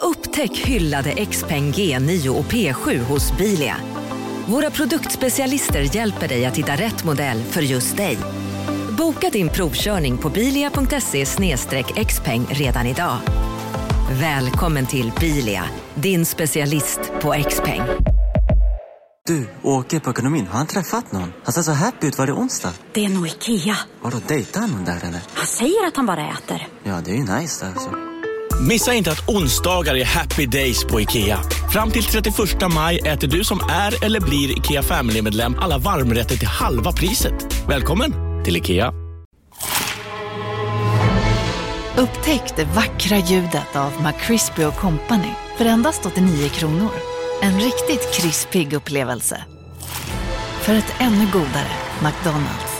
Upptäck hyllade XPeng G9 och P7 hos Bilia. Våra produktspecialister hjälper dig att hitta rätt modell för just dig. Boka din provkörning på bilia.se xpeng redan idag. Välkommen till Bilia, din specialist på XPeng. Du, åker på ekonomin. Har han träffat någon? Han ser så happy ut. Var det onsdag? Det är nog Ikea. Har du dejtar han någon där eller? Han säger att han bara äter. Ja, det är ju nice där alltså. Missa inte att onsdagar är happy days på IKEA. Fram till 31 maj äter du som är eller blir IKEA Family-medlem alla varmrätter till halva priset. Välkommen till IKEA. Upptäck det vackra ljudet av McCrispy Company för endast 89 kronor. En riktigt krispig upplevelse. För ett ännu godare McDonalds.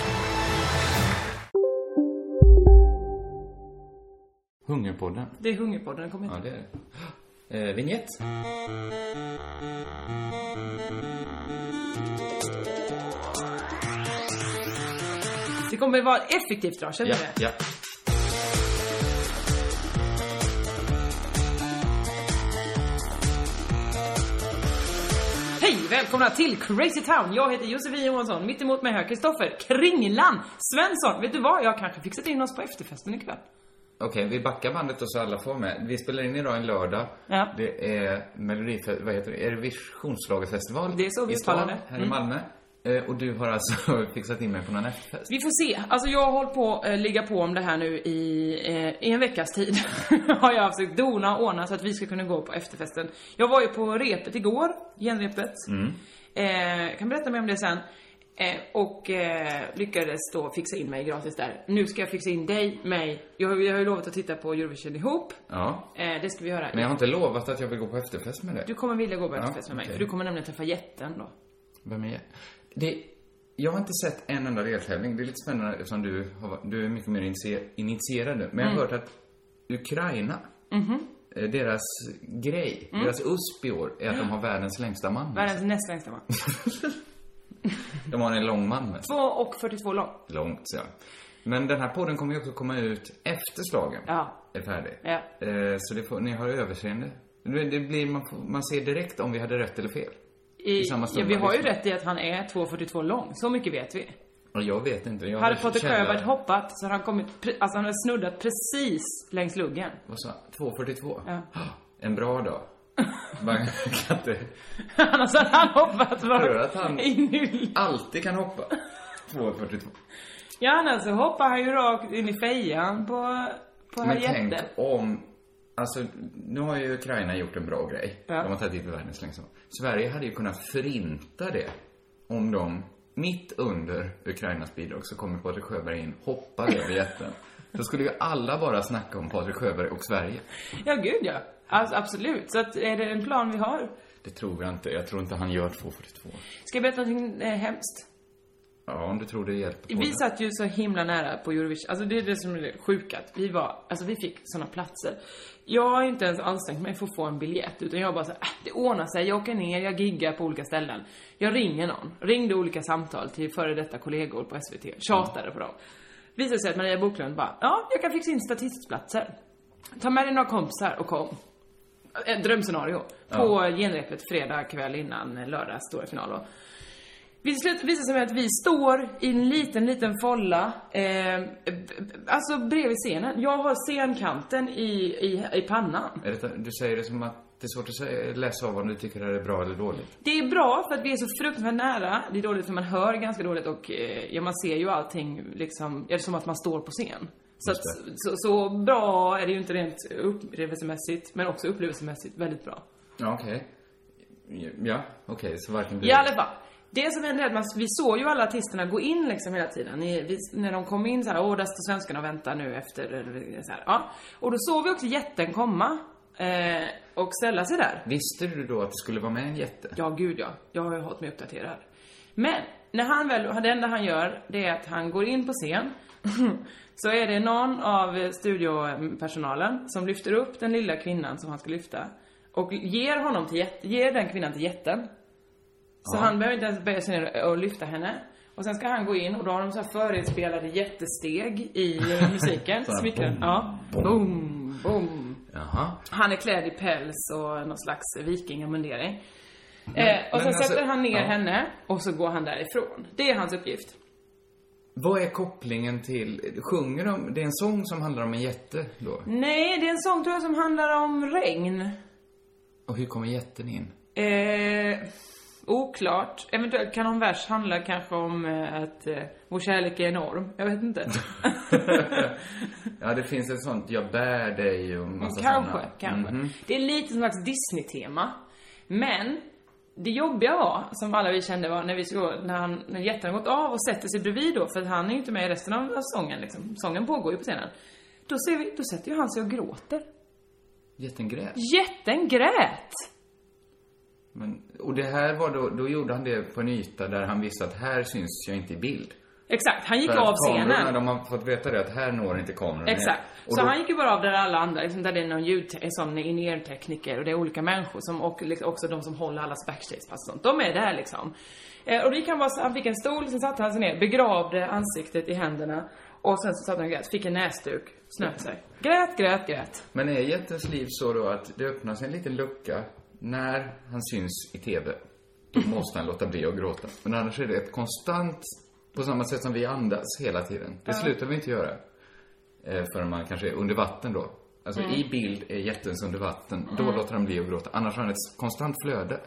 Hungerpodden. Det är Hungerpodden den kommer Ja, heta. det är det. Eh, vignett. Det kommer vara effektivt idag, känner Ja, du det? ja. Hej! Välkomna till Crazy Town! Jag heter Josefin Johansson, mitt emot mig här Kristoffer Kringlan Svensson. Vet du vad? Jag har kanske fixat in oss på efterfesten ikväll. Okej, vi backar bandet och så alla får med. Vi spelar in idag en lördag. Ja. Det är melodifest... Vad heter det? Eurovisionsschlagerfestival. Det är så vi i stan, uttalar det. Här i Mm. Malmö. Eh, och du har alltså fixat in mig på någon efterfest. Vi får se. Alltså jag har hållit på att eh, ligga på om det här nu i, eh, i en veckas tid. har jag försökt dona och ordna så att vi ska kunna gå på efterfesten. Jag var ju på repet igår, genrepet. Mm. Eh, jag kan berätta mer om det sen. Eh, och eh, lyckades då fixa in mig gratis där. Nu ska jag fixa in dig, mig. Jag, har- jag har ju lovat att titta på Eurovision ihop. Ja. Eh, det ska vi göra. Men jag har inte lovat att jag vill gå på efterfest med dig. Du kommer vilja gå på efterfest med mig, okej. för du kommer nämligen träffa jätten då. Vem är jag? det? Jag har inte sett en enda deltävling. Det är lite spännande eftersom du, har, du är mycket mer initie- initierad nu. Men jag Mm. har hört att Ukraina, Mm-hmm. eh, deras grej, deras USP i år är att de har världens längsta man. Mm. Världens näst längsta man. De har en lång man mest. 2 och 42 lång. Långt, så. Men den här podden kommer ju också komma ut efter slagen Ja. är färdig. Ja. Eh, Så det får, ni har överseende. Det det blir, man, får, man ser direkt om vi hade rätt eller fel. I, I samma ja, stund vi man har ju lyssnar. rätt i att han är 2,42 lång, så mycket vet vi. Och jag vet inte. Jag Hade har Patrik källare- Sjöberg hoppat så hade han kommit, pre- alltså han hade snuddat precis längs luggen. Vad sa 2.42? Ja. En bra dag. Man kan inte Annars hade han hoppat Tror du rakt att han- in i... alltid kan hoppa. 2.42. Ja, annars så hoppar han ju rakt in i fejan på, på Men herr tänk jätte. om... Alltså, nu har ju Ukraina gjort en bra grej. Ja. De har tagit hit världens längsta. Sverige hade ju kunnat förinta det om de mitt under Ukrainas bidrag så kommer Patrik Sjöberg in, hoppar över jätten. Då skulle ju alla bara snacka om Patrik Sjöberg och Sverige. Ja, gud ja. Alltså, absolut. Så att, är det en plan vi har? Det tror jag inte. Jag tror inte han gör 2.42. Ska jag berätta någonting eh, hemskt? Ja, om du tror det hjälper. på Vi det. satt ju så himla nära på Eurovision. Alltså det är det som är det sjuka. att Vi var, alltså vi fick såna platser. Jag har inte ens ansträngt mig för att få en biljett. Utan jag bara så här, "Äh, det ordnar sig. Jag åker ner, jag giggar på olika ställen. Jag ringer någon. Ringde olika samtal till före detta kollegor på SVT. Tjatade på dem. Visade sig att Maria Boklund bara, ja, jag kan fixa in statistplatser. Ta med dig några kompisar och kom. Ett drömscenario. På genrepet fredag kväll innan lördags stora final då. Vid slut visar det sig att vi står i en liten, liten folla, eh, b- b- alltså bredvid scenen. Jag har scenkanten i, i, i pannan. Är det, du säger det som att det är svårt att säga, läsa av om du tycker det här är bra eller dåligt. Det är bra för att vi är så fruktansvärt nära. Det är dåligt för man hör ganska dåligt och eh, ja, man ser ju allting liksom, är det som att man står på scen. Så, att, så, så bra är det ju inte rent upplevelsemässigt, men också upplevelsemässigt väldigt bra. Ja, okej. Ja, okej, så varken blir I alla fall. Det som hände är att man, vi såg ju alla artisterna gå in liksom hela tiden. I, vi, när de kom in så här, åh där står svenskarna och väntar nu efter, eller så här, ja. Och då såg vi också jätten komma eh, och ställa sig där. Visste du då att det skulle vara med en jätte? Ja, gud ja. Jag har ju hållit mig uppdaterad. Men, när han väl, det enda han gör, det är att han går in på scen. så är det någon av eh, studiopersonalen som lyfter upp den lilla kvinnan som han ska lyfta. Och ger honom till jätte, ger den kvinnan till jätten. Så han behöver inte ens böja sig ner och lyfta henne. Och sen ska han gå in och då har de så här förinspelade jättesteg i eh, musiken. Så här, Smickrande. boom, Ja. Boom, boom. Jaha. Han är klädd i päls och någon slags vikingamundering. Eh, och men sen alltså- sätter han ner ja. henne och så går han därifrån. Det är hans uppgift. Vad är kopplingen till, sjunger de, det är en sång som handlar om en jätte då? Nej, det är en sång tror jag som handlar om regn. Och hur kommer jätten in? Eh, oklart. Eventuellt kan någon vers handla kanske om eh, att eh, vår kärlek är enorm. Jag vet inte. Ja, det finns ett sånt, jag bär dig och massa Mm, kanske, såna. kanske. Mhm. Det är lite som ett slags Disney-tema. Men det jobbiga var, som alla vi kände var när vi skulle gå, när, han, när jätten har gått av och sätter sig bredvid då, för att han är ju inte med i resten av, av sången liksom. Sången pågår ju på scenen. Då, ser vi, då sätter ju han sig och gråter. Jätten grät. Jätten grät! Men, och det här var då, då gjorde han det på en yta där han visste att här syns jag inte i bild. Exakt, han gick För av att Kamerorna, scenen. de har fått veta det, att här når inte kameran ner. Exakt. Och Så då, han gick ju bara av där alla andra, liksom, där det är någon ljud, som ingenjörtekniker och det är olika människor som, och liksom också de som håller allas backstagepass och sånt. De är där liksom. Eh, och det gick han bara, så- han fick en stol, sen satte han sig ner, begravde ansiktet i händerna och sen så satt han och grät, fick en näsduk, snöt sig. Grät, grät, grät. Men är jättens liv så då att det öppnas en liten lucka när han syns i TV? Då måste han låta bli att gråta. Men annars är det ett konstant, på samma sätt som vi andas hela tiden. Det slutar vi inte göra. Eh, förrän man kanske är under vatten då. Alltså Mm. i bild är jättens under vatten. Då låter han bli att gråta. Annars har han ett konstant flöde.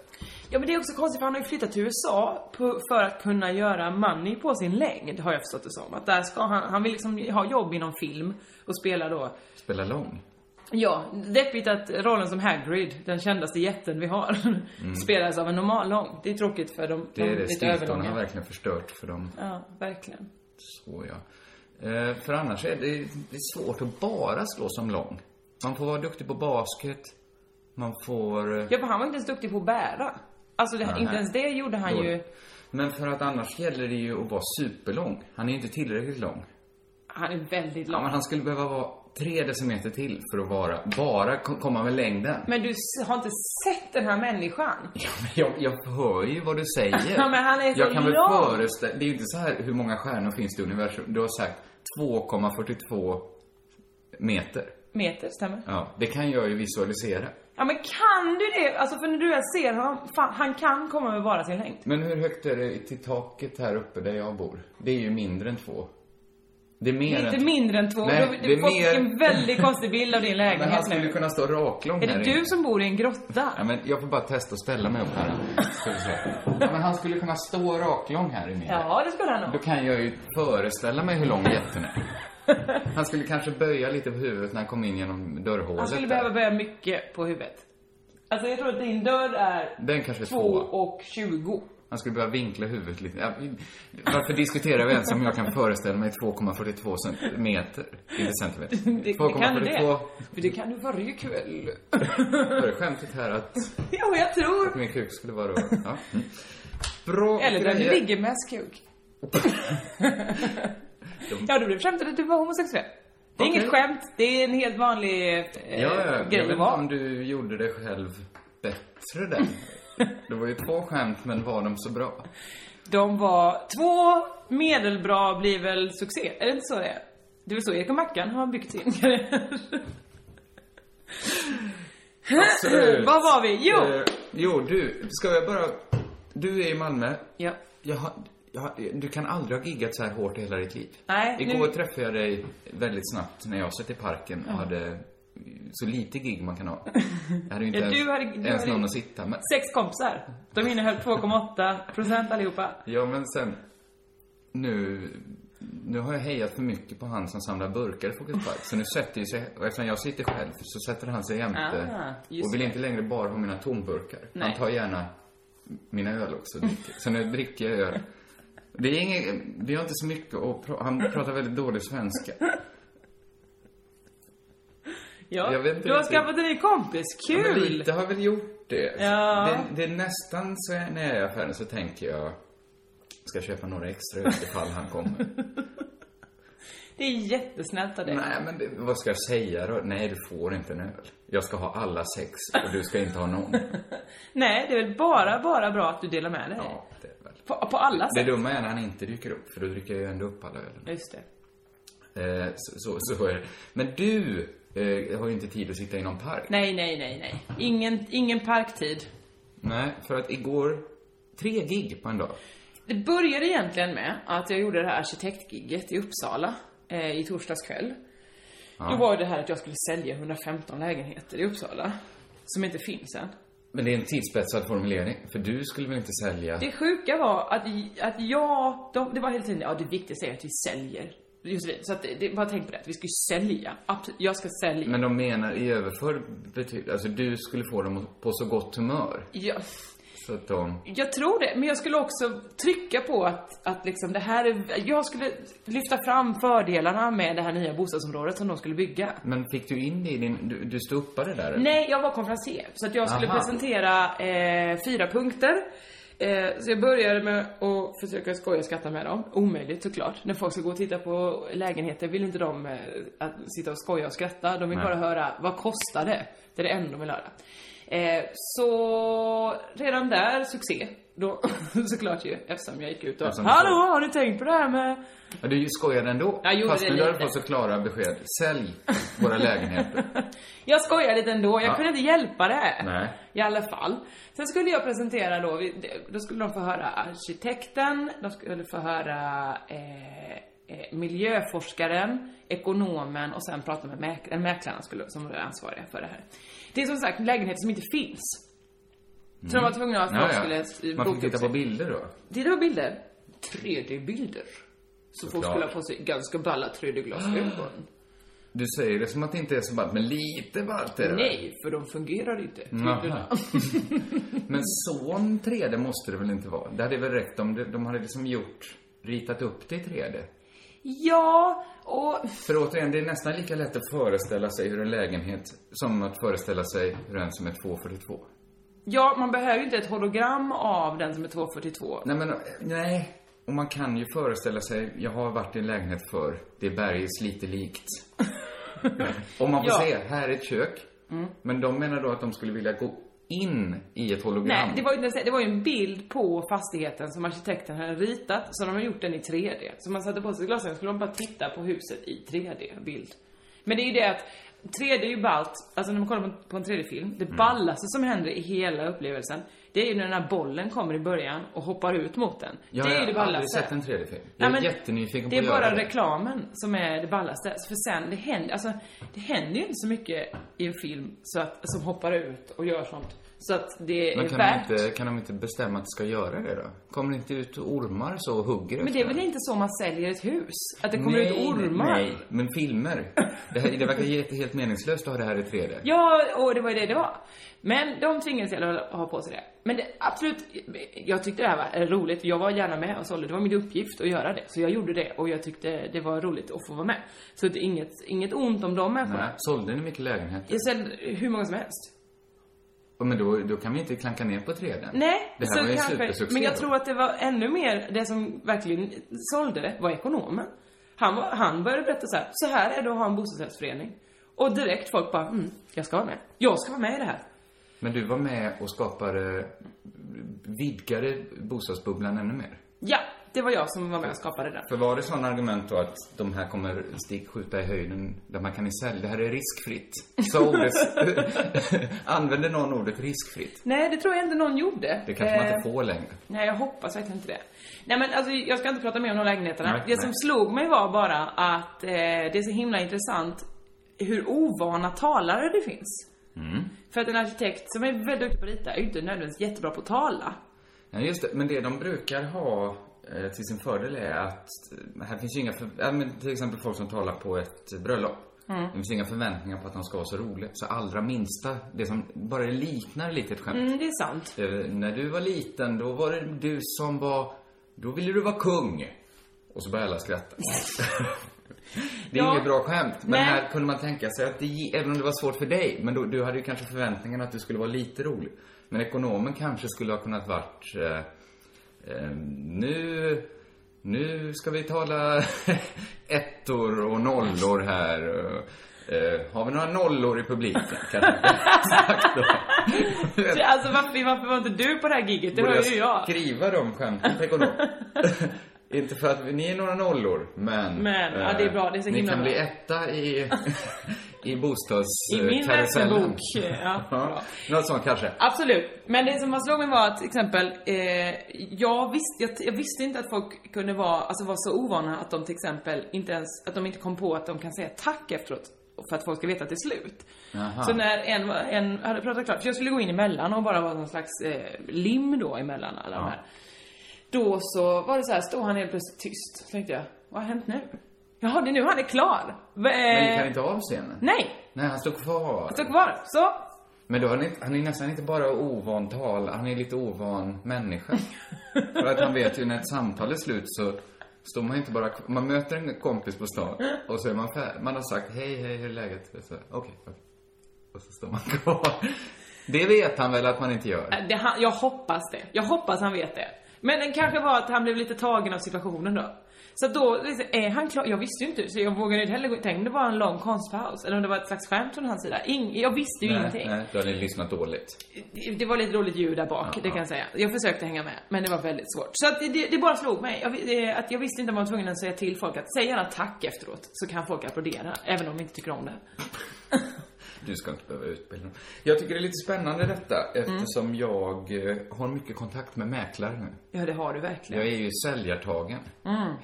Ja men det är också konstigt för han har ju flyttat till USA på, för att kunna göra money på sin längd, har jag förstått det som. Att där ska han, han vill liksom ha jobb inom film och spela då Spela lång. Ja, deppigt att rollen som Hagrid, den kändaste jätten vi har, spelas av en normal lång. Det är tråkigt för de, Mm. Det är de det. lite Stilton har överlånga. verkligen förstört för dem. Ja, verkligen. Så ja. Eh, för annars är det, det är svårt att bara slå som lång. Man får vara duktig på basket. Man får... eh, Ja, för han var inte ens duktig på att bära. Alltså, det, inte nej. ens det gjorde han dåligt. ju. Men för att annars gäller det ju att vara superlång. Han är ju inte tillräckligt lång. Han är väldigt Ja, lång. men han skulle behöva vara tre decimeter till för att vara, bara ko- komma med längden. Men du s- har inte sett den här människan? Ja, men jag, jag hör ju vad du säger. Ja, men han är så jag kan lång. väl föreställa... Det är ju inte så här hur många stjärnor finns det i universum. Du har sagt 2,42 meter. Meter, stämmer. Ja, det kan jag ju visualisera. Ja, men kan du det? Alltså, för när du väl ser honom, fan, han kan komma med bara sin längd. Men hur högt är det till taket här uppe där jag bor? Det är ju mindre än två. Det är Det mer är än inte mindre än två. Nej, du, det är du får mer- en väldigt konstig bild av din Men han lägenhet skulle nu. kunna stå raklång Är här det inne. du som bor i en grotta? Ja, men jag får bara testa att ställa mig upp här. Ska vi se. Ja, men han skulle kunna stå raklång här inne. Ja, det skulle han nog. Då kan jag ju föreställa mig hur lång jätten är. Han skulle kanske böja lite på huvudet när han kom in genom dörrhålet. Han skulle där. behöva böja mycket på huvudet. Alltså jag tror att din dörr är Den kanske är 2 två. och 20. Han skulle behöva vinkla huvudet lite. Ja, vi- Varför diskuterar vi ens om jag kan föreställa mig 2,42 centimeter? Inte centimeter. Det, det kan du det. 2,42. För det kan du varje kväll. Var det skämtet här att ja, jag tror. min kuk skulle vara då? Ja. Mm. Bra Eller där du grejer. ligger med skugg. ja, då blev skämtet att du var homosexuell. Det är Okej. inget skämt, det är en helt vanlig eh, Ja, ja, jag grej vet att inte om vara. du gjorde det själv bättre där. Det var ju två skämt, men var de så bra? De var två medelbra blir väl succé, är det inte så det är? Det är väl så Erik och Mackan har byggt sin karriär. Absolut. Var var vi? Jo! Eh, jo, du, ska jag bara... Du är i Malmö. Ja. Jag har, jag har, du kan aldrig ha giggat så här hårt i hela ditt liv. Nej, Igår nu- träffade jag dig väldigt snabbt när jag satt i parken och hade så lite gig man kan ha. Jag hade ju inte Ja, du ens, hade- du ens hade- någon att sitta med. Sex kompisar. De innehöll 2,8% allihopa. Ja, men sen... Nu... Nu har jag hejat för mycket på han som samlar burkar i Folkets Park. Så nu sätter ju sig... Och eftersom jag sitter själv så sätter han sig jämte. Ah, just och vill det. inte längre bara ha mina tomburkar. Nej. Han tar gärna mina öl också. och dricker. Så nu dricker jag öl. Det är inget... Vi har inte så mycket att pra, Han pratar väldigt dålig svenska. Ja. Jag vet inte du har riktigt. skaffat en ny kompis. Ja, men Kul! lite har väl gjort det. Ja. det. Det är nästan så när jag är i affären så tänker jag... Ska jag köpa några extra öl ifall han kommer? det är jättesnällt av dig. Nej, men det, vad ska jag säga då? Nej, du får inte en öl. Jag ska ha alla sex och du ska inte ha någon. Nej, det är väl bara, bara bra att du delar med dig. Ja, det är väl. På, på alla Det sätt. dumma är när han inte dyker upp, för då dricker jag ju ändå upp alla ölen. Just det. Eh, så, så, så är det. Men du eh, har ju inte tid att sitta i någon park. Nej, nej, nej, nej. Ingen, ingen parktid. Nej, för att igår, tre gig på en dag. Det började egentligen med att jag gjorde det här arkitektgigget i Uppsala eh, i torsdags kväll. Då var det här att jag skulle sälja 115 lägenheter i Uppsala. Som inte finns än. Men det är en tidsspetsad formulering, för du skulle väl inte sälja? Det sjuka var att, att jag, de, det var hela tiden, ja det viktigaste är att vi säljer. Just det, så att det, det, bara tänk på det, att vi ska ju sälja. Absolut, jag ska sälja. Men de menar i överförd betydelse, alltså du skulle få dem på så gott humör. Jag, Så att de... jag tror det, men jag skulle också trycka på att, att liksom det här är, jag skulle lyfta fram fördelarna med det här nya bostadsområdet som de skulle bygga. Men fick du in det i din, du, du stoppade där? eller? Nej, jag var konferenser. Så att jag skulle Aha. presentera eh, fyra punkter. Eh, så jag började med att försöka skoja och skratta med dem. Omöjligt såklart. När folk ska gå och titta på lägenheter vill inte de eh, att sitta och skoja och skratta. De vill bara höra, vad kostar det? Det är det enda de vill höra. Eh, så redan där, succé. Då, såklart ju, eftersom jag gick ut och Eftersom- Hallå, har ni tänkt på det här med Ja, du skojade ändå. Jag gjorde Fast det nu har du lite. fått så klara besked. Sälj våra lägenheter. Jag skojar lite ändå, jag Ja. kunde inte hjälpa det. Nej. I alla fall. Sen skulle jag presentera då, vi- det- då skulle de få höra arkitekten, de skulle få höra eh, eh, miljöforskaren, ekonomen och sen prata med mäk- en mäklaren skulle, som var ansvariga för det här. Det är som sagt lägenheter som inte finns. Så de var tvungna att Mm. Ja, de ja. skulle eh, Man boka upp fick titta sig. på bilder då. Titta på bilder. 3D-bilder. Så folk Såklart. skulle ha på sig ganska balla 3D-glasögon. Du säger det som att det inte är så ballt, men lite ballt är det väl? Nej, för de fungerar inte. Typ bilderna. Jaha. Men sån 3D måste det väl inte vara? Det hade väl räckt om de, de hade liksom gjort, ritat upp det i 3D? Ja, och För återigen, det är nästan lika lätt att föreställa sig hur en lägenhet som att föreställa sig hur en som är 242. Ja, man behöver ju inte ett hologram av den som är 242. Nej men, eh, nej. Och man kan ju föreställa sig, jag har varit i en lägenhet för det är bergis lite likt. Om man får Ja. Mm. se, här är ett kök. Men de menar då att de skulle vilja gå in i ett hologram. Nej, det var, ju, inte- det var ju en bild på fastigheten som arkitekten hade ritat, så de har gjort den i 3D. Så man satte på sig glasögonen skulle de bara titta på huset i 3D-bild. Men det är ju det att 3D är ju ballt, alltså när man kollar på- på en 3D-film, Mm. det ballaste som händer i hela upplevelsen, det är ju när den här bollen kommer i början och hoppar ut mot den. Ja, det är jag ju det har aldrig ballaste. sett en 3D-film. Jag är men jättenyfiken Det på är att bara göra det. reklamen som är det ballaste. För sen, det händer, alltså, det händer ju inte så mycket i en film så att, som hoppar ut och gör sånt. Så att det Men är kan de, värt. inte, kan de inte bestämma att det ska göra det då? Kommer det inte ut ormar så och hugger Men det är efter väl den? inte så man säljer ett hus? Att det kommer ut Nej, ormar? Nej, men filmer. Det, här, det verkar helt, helt meningslöst att ha det här i 3D. Ja, och det var ju det det var. Men de tvingades i alla fall ha på sig det. Men det, absolut, jag tyckte det här var roligt. Jag var gärna med och sålde. Det var min uppgift att göra det. Så jag gjorde det och jag tyckte det var roligt att få vara med. Så det är inget, inget ont om de människorna. Nej, sålde ni mycket lägenheter? Jag säljer hur många som helst. Ja, Men då, då kan vi inte klanka ner på 3D. Nej, Det här var ju en supersuccé Men jag då. tror att det var ännu mer, det som verkligen sålde det var ekonomen. Han, var, han började berätta så här, så här är det att ha en bostadsrättsförening. Och direkt folk bara, mm, jag ska vara med. Jag ska vara med i det här. Men du var med och skapade, vidgade bostadsbubblan ännu mer. Ja, det var jag som var med och skapade den. För var det sådana argument då att de här kommer stig, skjuta i höjden, där man kan ni sälja, det här är riskfritt. Så ordet, använde någon ordet riskfritt? Nej, det tror jag inte någon gjorde. Det kanske man Eh, inte får längre. Nej, jag hoppas verkligen inte det. Nej men alltså, jag ska inte prata mer om de lägenheterna. Nej, det som nej. slog mig var bara att eh, det är så himla intressant hur ovana talare det finns. För att en arkitekt som är väldigt duktig på att rita är ju inte nödvändigtvis jättebra på att tala. Ja, just det. Men det de brukar ha eh, till sin fördel är att eh, här finns ju inga, för, ja, men till exempel folk som talar på ett bröllop. Det finns inga förväntningar på att de ska vara så roliga. Så allra minsta, det som bara liknar lite ett skämt. Mm, det är sant. Eh, när du var liten, då var det du som var... Då ville du vara kung. Och så började alla skratta. det är Ja. inget bra skämt. Men Nej. här kunde man tänka sig att det, gi- även om det var svårt för dig, men då, du hade ju kanske förväntningen att du skulle vara lite rolig. Men ekonomen kanske skulle ha kunnat varit... Eh, eh, nu... Nu ska vi tala ettor och nollor här. Eh, har vi några nollor i publiken? Kanske. Sagt då. Alltså varför, varför var inte du på det här giget? Det var Borde ju jag. skriva de skämten? Tänk om de... Inte för att vi- ni är några nollor, men... eh, Men, ja, det är bra, det är så Ni himla kan bra. bli etta i, I I min bostadskarusellen. vänsterbok. Ja, Ja, bra. något sånt kanske. Absolut. Men det som var slog mig var att till exempel, eh, jag, visste, jag, jag visste inte att folk kunde vara, alltså vara så ovana att de till exempel inte ens, att de inte kom på att de kan säga tack efteråt. För att folk ska veta att det är slut. Jaha. Så när en, var- en hade pratat klart, för jag skulle gå in emellan och bara vara någon slags eh, lim då emellan alla de här. Då så var det så här, stod han helt plötsligt tyst. Så tänkte jag, vad har hänt nu? Jaha, det är nu han är klar. Men gick han inte av scenen? Eh, Nej, Nej, han stod kvar. stå kvar. Så, Men då, är han, inte- han är nästan inte bara ovan tal, han är lite ovan människa. För att han vet ju när ett samtal är slut så står man ju inte bara... Man möter en kompis på stan och så är man färdig. Man har sagt hej, hej, hur är läget? Så, Okej, okej. Och så står man kvar. Det vet han väl att man inte gör? Äh, Det, han, jag hoppas det. Jag hoppas han vet det. Men det kanske var att han blev lite tagen av situationen då. Så att då, liksom, är han klar? Jag visste ju inte, så jag vågade inte heller gå Tänk om det var en lång konstpaus, eller om det var ett slags skämt från hans sida. Ing, jag visste ju ingenting. nej, då har ni lyssnat dåligt. Det- Det var lite roligt ljud där bak, det kan jag säga. Jag försökte hänga med, men det var väldigt svårt. Så att det- det, det bara slog mig. Jag, vi- eh, att jag visste inte om man var tvungen att säga till folk att säg gärna tack efteråt, så kan folk applådera, även om de inte tycker om det. Du ska inte behöva utbilda dem. Jag tycker det är lite spännande detta eftersom Mm. jag eh, har mycket kontakt med mäklare nu. Ja, det har du verkligen. Mm. Jag är ju säljartagen.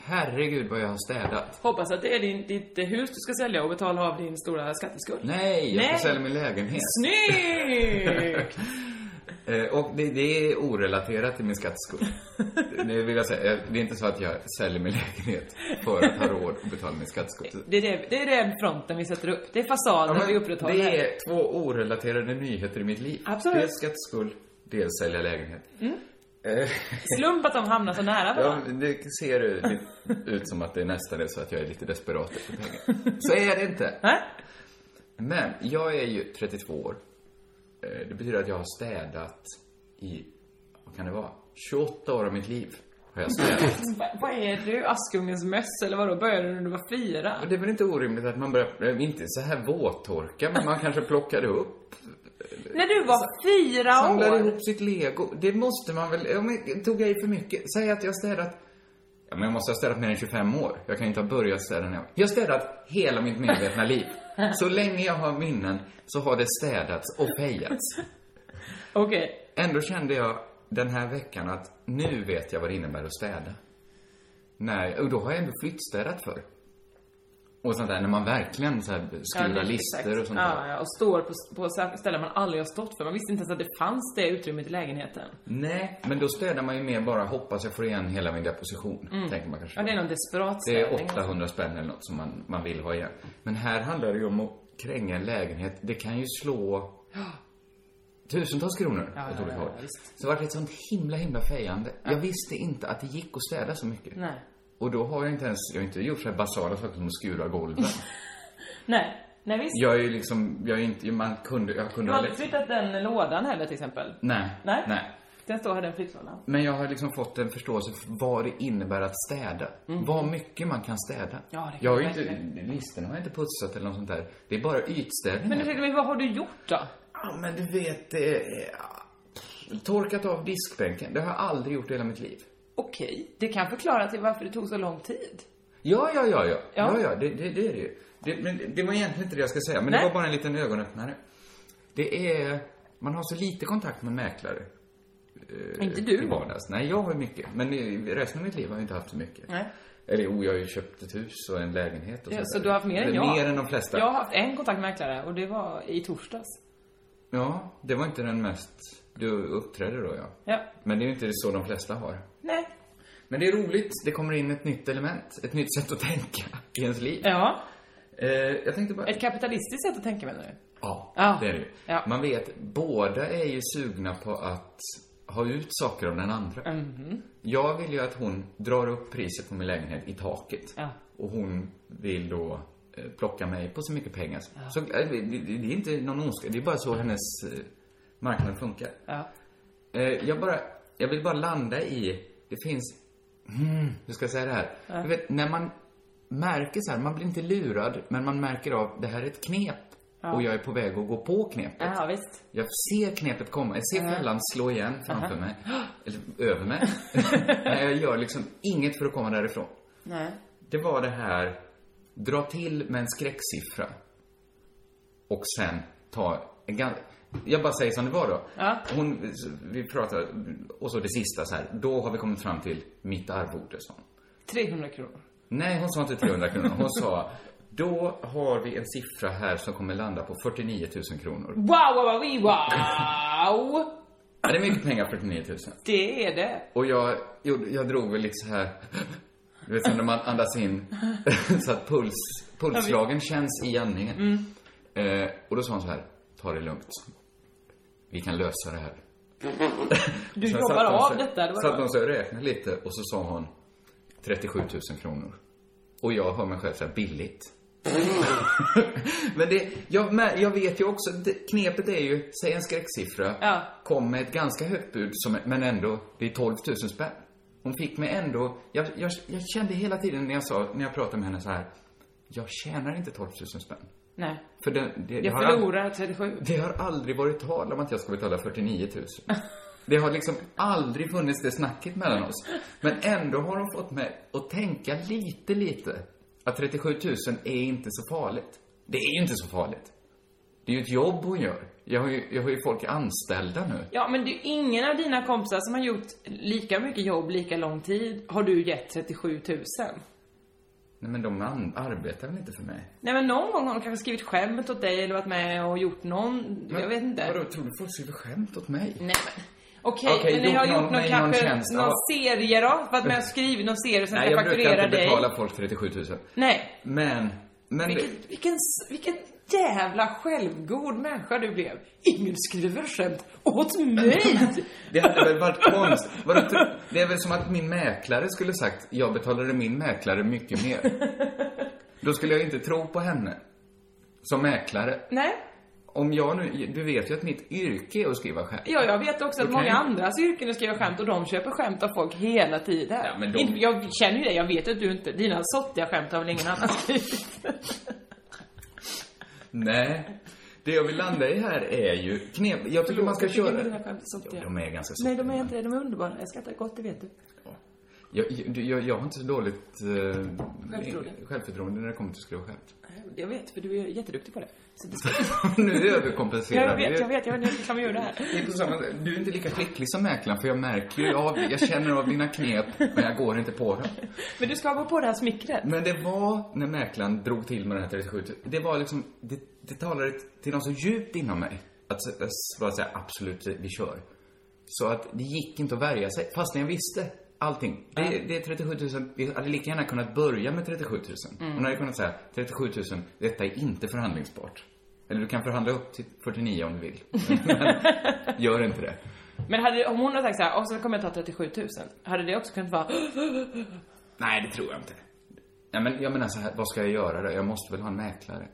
Herregud vad jag har städat. Hoppas att det är din, ditt eh, hus du ska sälja och betala av din stora skatteskuld. Nej, jag ska Nej. sälja min lägenhet. Snyggt! Eh, och det, det är orelaterat till min skatteskuld. det vill jag säga. Eh, Det är inte så att jag säljer min lägenhet för att ha råd att betala min skatteskuld. Det är, det, det är den fronten vi sätter upp. Det är Ja, fasaden men vi upprätthåller. det är två orelaterade nyheter i mitt liv. Absolut. Dels skatteskuld, dels sälja lägenhet. Eh, Slump att de hamnar så nära Ja, varandra. det ser ut- ut som att det nästan är så att jag är lite desperat efter pengar. Så är det inte. Nej? Men jag är ju 32 år. Eh, Det betyder att jag har städat i, vad kan det vara, 28 år av mitt liv. Har jag städat. Va- Vad är du? Askungens möss eller vadå? Började du när du var fyra? Och det är väl inte orimligt att man börjar, eh, inte så här våttorka, men man kanske plockade upp, När du var fyra samlade år? ihop sitt lego. Det måste man väl, ja, men tog jag i för mycket? Säg att jag har städat, ja men jag måste ha städat mer än 25 år. Jag kan inte ha börjat städa när jag, jag har städat hela mitt medvetna liv. Så länge jag har minnen så har det städats och pejats. Okej. Ändå kände jag den här veckan att nu vet jag vad det innebär att städa. Nej, och då har jag ändå flyttstädat för. Och sånt där när man verkligen så här Ja, skriver det- listor exakt. och sånt ja, där. ja, och står på, på sa- ställen man aldrig har stått för. Man visste inte ens att det fanns det utrymmet i lägenheten. Nej, men då städar man ju mer bara hoppas jag får igen hela min deposition. Tänker man kanske. Mm. Ja, det är någon desperat Det är ställning. 800 spänn eller något som man, man vill ha igen. Men här handlar det ju om att kränga en lägenhet. Det kan ju slå tusentals kronor Ja, åt ja, olika ja, håll. ja, visst. Så det var ett sånt himla, himla fejande. Jag visste inte att det gick att städa så mycket. Nej. Och då har jag inte ens, jag har inte gjort så här basala saker som att skura golven. Nej. Nej, visst. jag är ju liksom, jag är inte, man kunde, jag kunde Du har ha aldrig lätt- flyttat den lådan heller till exempel? Nej. Nej. Nej. Den står här, den flyttlådan. Men jag har liksom fått en förståelse för vad det innebär att städa. Vad mycket man kan städa. Mm. Ja, det kan jag har ju jag inte, listorna har jag inte putsat eller något sånt där. Det är bara ytstädning. Men du tänkte, men vad har du gjort då? Ja, men du vet, eh, ja. torkat av diskbänken. Det har jag aldrig gjort i hela mitt liv. Okej, det kan förklara till varför det tog så lång tid. Ja, ja, ja, ja. Ja. Ja, ja, det, det, det är det ju. Det, men det- det var egentligen inte det jag ska säga, men Nej. det var bara en liten ögonöppnare. Det är... Man har så lite kontakt med mäklare. inte I du. vardags. Nej, jag har ju mycket. Men i resten av mitt liv har jag inte haft så mycket. Nej. Eller jo, jag har ju köpt ett hus och en lägenhet och Ja, sådär. så du har haft mer än Men jag. Mer än de flesta. Jag har haft en kontaktmäklare och det var i torsdags. Ja, det var inte den mest... Du uppträdde då, ja. Ja. Men det är ju inte så de flesta har. Nej. Men det är roligt. Det kommer in ett nytt element. Ett nytt sätt att tänka i ens liv. Ja. Eh, jag tänkte bara... Ett kapitalistiskt sätt att tänka menar du? Ja, Ja. det är det ju. Ja. Man vet, båda är ju sugna på att ha ut saker av den andra. Mhm. Jag vill ju att hon drar upp priset på min lägenhet i taket. Ja. Och hon vill då eh, plocka mig på så mycket pengar. som- Så, eh, det, det det är inte någon ondska, det är bara så hennes eh, marknad funkar. Ja. Eh, jag bara, jag vill bara landa i, det finns, mm, hur ska jag säga det här? Du vet, när man märker så här, man blir inte lurad, men man märker av, det här är ett knep. Och jag är på väg att gå på knepet. Ja, visst. Jag ser knepet komma, jag ser fällan slå igen framför mig. Eller över mig. Men jag gör liksom inget för att komma därifrån. Nej. Det var det här, dra till med en skräcksiffra. och sen ta en ganska... Jag bara säger som det var då. Ja. Hon, vi pratade, och så det sista så här. Då har vi kommit fram till mitt arvode, sa hon. 300 kronor. Nej, hon sa inte 300 kronor. Hon sa, då har vi en siffra här som kommer landa på 49 000 kronor. Wow, wow, wow, wee, wow! Ja, Det är mycket pengar, 49 000. Det är det. Och jag, gjorde- jag drog väl lite så här, du vet som när man andas in, så att puls, pulsslagen känns i andningen. Eh, och då sa hon så här, ta det lugnt. Vi kan lösa det här. Du Sen jobbar satt hon av sig- detta. Det var Satt bra. hon sig och räknade lite och så sa hon 37 000 kronor. Och jag hör mig själv säga billigt. Men det, jag, men jag vet ju också, det, knepet är ju, säg en skräcksiffra, Ja. kom med ett ganska högt bud, som, men ändå, det är 12 000 spänn. Hon fick mig ändå, jag, jag, jag kände hela tiden när jag sa, när jag pratade med henne så här, jag tjänar inte 12 000 spänn. Nej. För det, det, det Jag har aldrig- förlorar 37. det har aldrig varit tal om att jag ska betala 49 000. Det har liksom aldrig funnits det snacket mellan oss. Men ändå har de fått mig att tänka lite, lite att 37 000 är inte så farligt. Det är ju inte så farligt. Det är ju ett jobb hon gör. Jag har ju, jag har ju folk anställda nu. Ja, men det är ju ingen av dina kompisar som har gjort lika mycket jobb lika lång tid har du gett 37 000. Nej, men de an- arbetar väl inte för mig? Nej, men någon gång har de kanske skrivit skämt åt dig eller varit med och gjort någon, jag vet inte. Vadå, tror du folk skriver skämt åt Nej, mig? men Okej, Okej, men ni gjort har någon- gjort någon nej, någon kanske, tjänst, någon ja. serie då? För att man har skrivit någon serie som Nej, ska jag brukar fakturera inte dig? betala folk 37 000. Nej. Men, men... Vilken, vilken, vilken jävla självgod människa du blev. Ingen skriver skämt åt mig! Det hade väl varit konst. Vadå, tro- Det är väl som att min mäklare skulle sagt, jag betalade min mäklare mycket mer. Då skulle jag inte tro på henne. Som mäklare. Nej. Om jag nu, du vet ju att mitt yrke är att skriva skämt. Ja, jag vet också att Okej. många andras yrken skriver skämt och de köper skämt av folk hela tiden. Ja, men de- Inte- Jag känner ju det, jag vet att du inte, dina sottiga skämt har väl ingen annan skrivit? Nej. Det jag vill landa i här är ju knep. Jag tycker man ska Jag tycker inte köra... dina skämt är sottiga. Ja, de är ganska Nej, de är sottiga. inte det, de är underbara. Jag skrattar gott, det vet du. Jag, jag, jag har inte så dåligt eh, Självförtroende. självförtroende när det kommer till att skriva skämt. Jag vet, för du är jätteduktig på det. Så det ska... nu överkompenserar jag, vi ju. vet, jag vet, jag vet, jag kan vi göra det här. Det är på samma sätt. Du är inte lika skicklig som mäklaren för jag märker ju av, jag känner av dina knep men jag går inte på dem. Men du ska gå på det här smickret. Men det var när mäklaren drog till med den här 37 det var liksom, det, det talade till något så djupt inom mig. Att s- s- bara säga absolut, vi kör. Så att det gick inte att värja sig, fast jag visste allting. Det, det är 37 000, vi hade lika gärna kunnat börja med 37 000. Hon hade kunnat säga 37 000, detta är inte förhandlingsbart. Eller du kan förhandla upp till 49 om du vill. Men gör inte det. Men hade, om hon hade sagt så här, och så kommer jag ta 37 000. Hade det också kunnat vara, Nej, det tror jag inte. Nej, men jag menar så här, vad ska jag göra då? Jag måste väl ha en mäklare?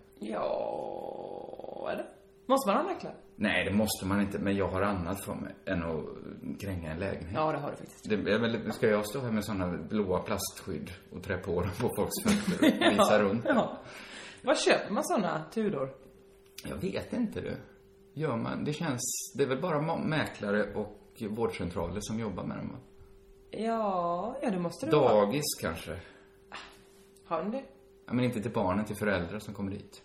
ja, eller? Måste man ha mäklare? Nej, det måste man inte, men jag har annat för mig än att kränga en lägenhet. Ja, det har du faktiskt. Det är väl, ska jag stå här med såna blåa plastskydd och trä på dem på folks fötter och visa runt? Ja. Var köper man såna Tudor? Jag vet inte du. Gör man, det känns, det är väl bara ma- mäklare och vårdcentraler som jobbar med dem va? Ja, ja det måste det vara. Dagis kanske? Har de det? Ja, men inte till barnen, till föräldrar som kommer dit.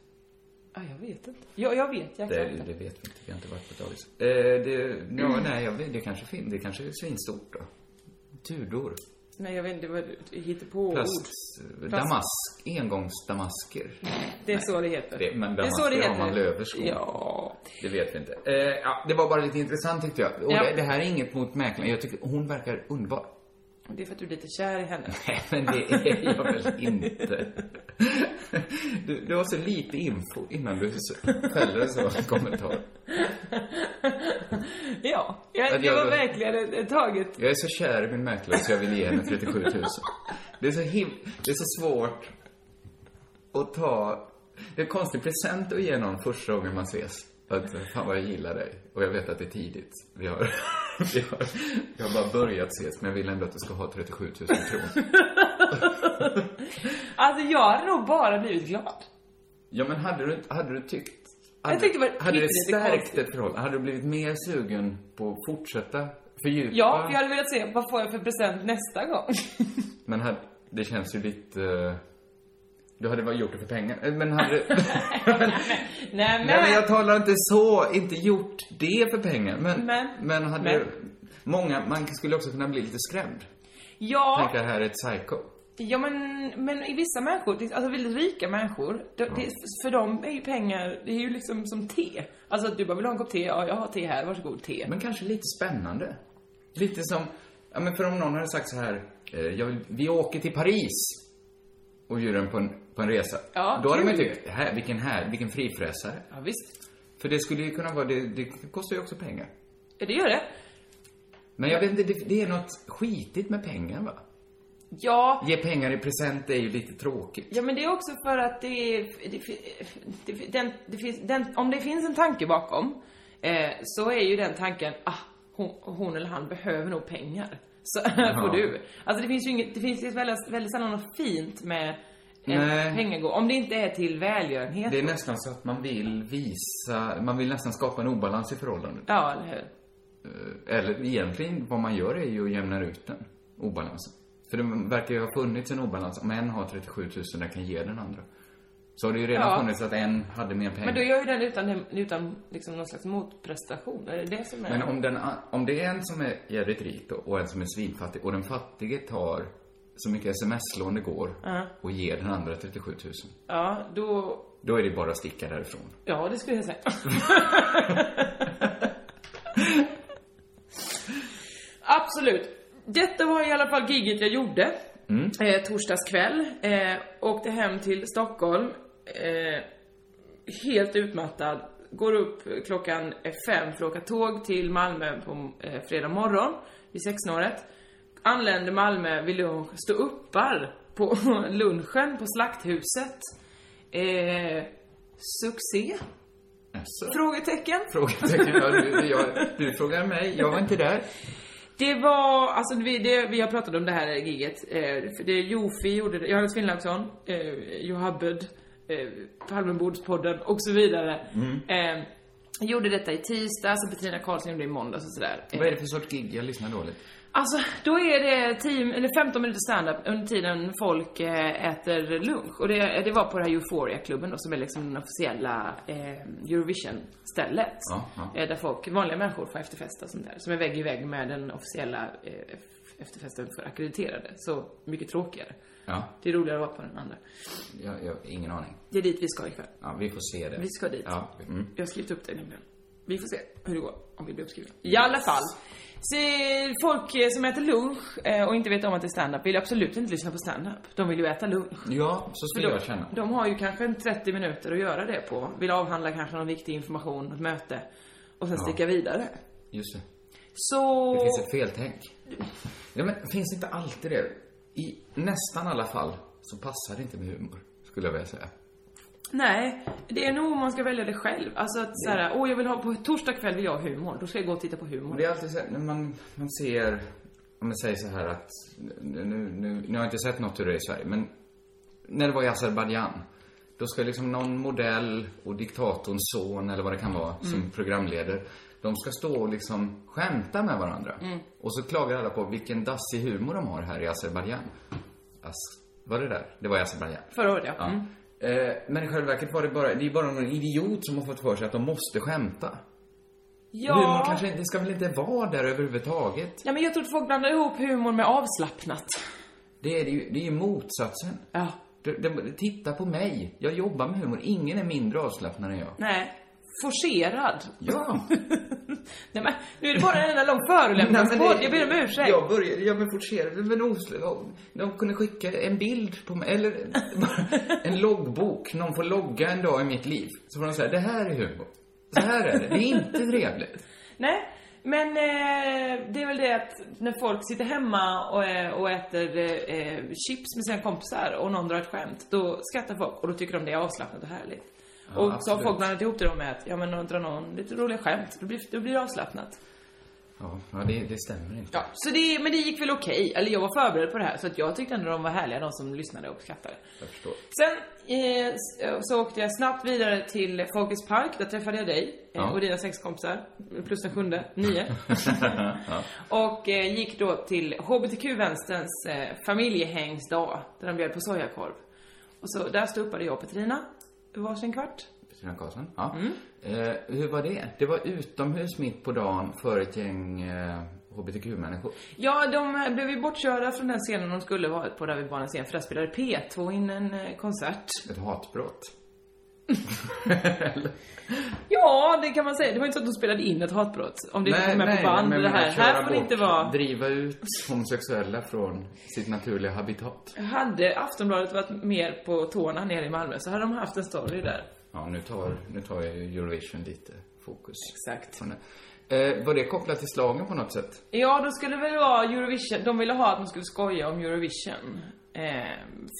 Ja, jag vet inte. Ja, jag vet, jag kan Det, inte. det vet vi inte, vi har inte varit på dagis. Eh, det, ja, nej, jag vet, det kanske finns, det kanske är svinstort då. Tudor. Nej, jag vet inte, det var hittepåord. Plast, damask, engångsdamasker. Det är så det heter. Det- men det är så damasker det har heter. man löverskor. Ja. Det vet vi inte. Eh, ja, det var bara lite intressant tyckte jag. Och Ja. det, det här är inget mot mäklaren. Jag tycker hon verkar underbar. Det är för att du är lite kär i henne. Nej, men det är jag väl inte. Du, du har så lite info innan du fäller en sån kommentar. Ja, jag, jag Att jag- var verkligen ett- ett taget. Jag är så kär i min mäklare så jag vill ge henne 37 000. Det är så him- Det är så svårt att ta... Det är en konstig present att ge någon första gången man ses. Att fan vad jag gillar dig. Och jag vet att det är tidigt. Vi har, vi har, vi har bara börjat ses men jag vill ändå att du ska ha 37 000 kronor. Alltså jag hade nog bara blivit glad. Ja men hade du, hade du tyckt... Hade, Jag tyckte det var hade det lite stärkt konstigt. ett förhållande? Hade du blivit mer sugen på att fortsätta fördjupa? Ja, för jag hade velat se vad får jag för present nästa gång. Men här, det känns ju lite... eh, Du hade bara gjort det för pengar. Eh, Men hade... Nej men, Nej, men jag talar inte så, inte gjort det för pengar. Men, Men. men, hade Men. många, man skulle också kunna bli lite skrämd. ja, Tänka, det här är ett psycho. ja men, men i vissa människor, det- alltså väldigt rika människor, det, det, för dem är ju pengar, det är ju liksom som te. Alltså att du bara vill ha en kopp te, ja jag har te här, varsågod te. Men kanske lite spännande. Lite som, ja men för om någon hade sagt så här, eh, jag vill, vi åker till Paris och bjuder en på en, på en resa. Ja, Då hade man ju kul. tyckt, här, vilken här, vilken frifräsare. Ja visst, För det skulle ju kunna vara, det, det kostar ju också pengar. ja, det gör det. Men jag vet inte, det, det är något skitigt med pengar va? Ja, Ge pengar i present är ju lite tråkigt. Ja men det är också för att det, är- det, fi- det, den, det finns, den, om det finns en tanke bakom eh, så är ju den tanken, ah, hon, hon eller han behöver nog pengar. Så här får du. Alltså det finns ju inget, det finns ju väldigt, väldigt sällan något fint med Nej. en pengagåva. Om det inte är till välgörenhet. Det är nästan så att man vill visa, man vill nästan skapa en obalans i förhållandet. Ja, eller hur? Eh, Eller egentligen, vad man gör är ju att jämna ut den obalansen. För det verkar ju ha funnits en obalans. Om en har 37 000 och kan ge den andra. Så har det ju redan Ja. funnits att en hade mer pengar. Men då gör ju den utan, utan liksom någon slags motprestation. Är det det som är... Men om, den, a- om det är en som är jävligt rik då, och en som är svinfattig och den fattige tar så mycket sms-lån det går och ger den andra 37 000. Ja, då... Då är det bara att sticka därifrån. Ja, det skulle jag säga. Absolut. Detta var i alla fall giget jag gjorde. Eh, torsdags kväll. Eh, åkte hem till Stockholm. Eh, helt utmattad. Går upp klockan eh, fem för att åka tåg till Malmö på eh, fredag morgon vid sexsnåret. Anländer Malmö vid lunch, står uppar på lunchen på Slakthuset. Eh, succé? Alltså. Frågetecken? Frågetecken. Ja, du, jag, du frågar mig, jag var inte där. Det var, alltså vi, det, vi har pratat om det här giget. Eh, för det Jofi gjorde det, Johannes Finnlaugsson, eh, Johabbed, eh, Palmebordspodden och så vidare. Mm. Eh, gjorde detta i tisdags och Petrina Karlsson gjorde det i måndags och sådär. Eh, Vad är det för sorts gig? Jag lyssnar dåligt. Alltså, då är det 10, eller 15 minuter standup under tiden folk eh, äter lunch. Och det, det var på det här Euphoria-klubben då, som är liksom den officiella eh, Eurovision-stället. Ja, ja. Eh, där folk, vanliga människor får efterfesta och sånt där. Som är vägg i vägg med den officiella eh, efterfesten för akkrediterade. Så mycket tråkigare. Ja, Det är roligare att vara på den andra. jag, jag ingen aning. Det är dit vi ska ikväll. Ja, vi får se det. Vi ska dit. Ja, mm. Jag har skrivit upp det nämligen. Vi får se hur det går, om vi blir uppskrivna. I alla fall. Så folk eh, som äter lunch eh, och inte vet om att det är standup vill absolut inte lyssna på standup. De vill ju äta lunch. ja För så skulle de, jag känna. de har ju kanske en 30 minuter att göra det på. Vill avhandla kanske någon viktig information, något möte. Och sen sticka vidare. Just det. Så... Det finns ett feltänk. Ja, men finns inte alltid det? I nästan alla fall så passar det inte med humor, skulle jag vilja säga. Nej, det är nog om man ska välja det själv. Alltså att såhär, Mm. åh jag vill ha, på torsdag kväll vill jag ha humor. Då ska jag gå och titta på Och humor. det är alltid så här, när man, man ser, om man säger så här att, nu, nu, nu har jag inte sett något ur det i Sverige, men när det var i Azerbajdzjan då ska liksom någon modell och diktatorns son eller vad det kan vara som programleder, de ska stå och liksom skämta med varandra. Och så klagar alla på vilken dassig humor de har här i Azerbajdzjan As- var det där? Det var i Azerbajdzjan Förra året ja. Ja. Mm. Eh, men i själva verket var det bara, det är bara någon idiot som har fått för sig att de måste skämta. Humor Ja. kanske inte, det ska väl inte vara där överhuvudtaget? ja, men jag tror att folk blandar ihop humor med avslappnat. Det är det ju, det är ju motsatsen. Ja. Det, det, titta på mig, jag jobbar med humor. Ingen är mindre avslappnad än jag. Nej. Forcerad. Ja. Nej men, nu är det bara en enda lång förolämpningspodd. det- Jag ber om ursäkt. Jag började, jag blev forcerad, men osl- de kunde skicka en bild på mig, eller en loggbok. Någon får logga en dag i mitt liv. Så får de säga, det här är humor. Så här är det, det är inte trevligt. Nej, men eh, det är väl det att när folk sitter hemma och, eh, och äter eh, eh, chips med sina kompisar och någon drar ett skämt, då skrattar folk och då tycker de det är avslappnat och härligt. och så har absolut. folk blandat ihop det då med att, ja men drar någon lite roliga skämt, då blir, då blir det avslappnat. Ja, ja det, det stämmer inte. Ja, så det, men det gick väl okej. Eller jag var förberedd på det här, så att jag tyckte ändå de var härliga, de som lyssnade och uppskattade. Jag förstår. Sen eh, s- så åkte jag snabbt vidare till Folkets Park. Där träffade jag dig eh, Ja. och dina sex kompisar. Plus den sjunde, nio. Och eh, gick då till HBTQ-vänsterns eh, familjehängsdag. Där de bjöd på sojakorv. Och så där ståuppade jag och Petrina varsin kvart. Kristina Karlsson. Ja. Mm. Eh, hur var det? Det var utomhus mitt på dagen för ett gäng eh, hbtq-människor. Ja, de eh, blev ju bortkörda från den scenen de skulle varit på där vid barnens scen, för där spelade P2 in en eh, konsert. Ett hatbrott. Ja, det kan man säga. Det var inte så att de spelade in ett hatbrott. Om det inte kom med på band men det jag menar, här. köra Här får det bort, inte vara. Driva ut homosexuella från sitt naturliga habitat. Hade Aftonbladet varit mer på tårna nere i Malmö så hade de haft en story där. Ja, nu tar, nu tar jag ju Eurovision lite fokus. Exakt. från det. Eh, var det kopplat till slagen på något sätt? Ja, då skulle det väl vara Eurovision. De ville ha att man skulle skoja om Eurovision. Eh,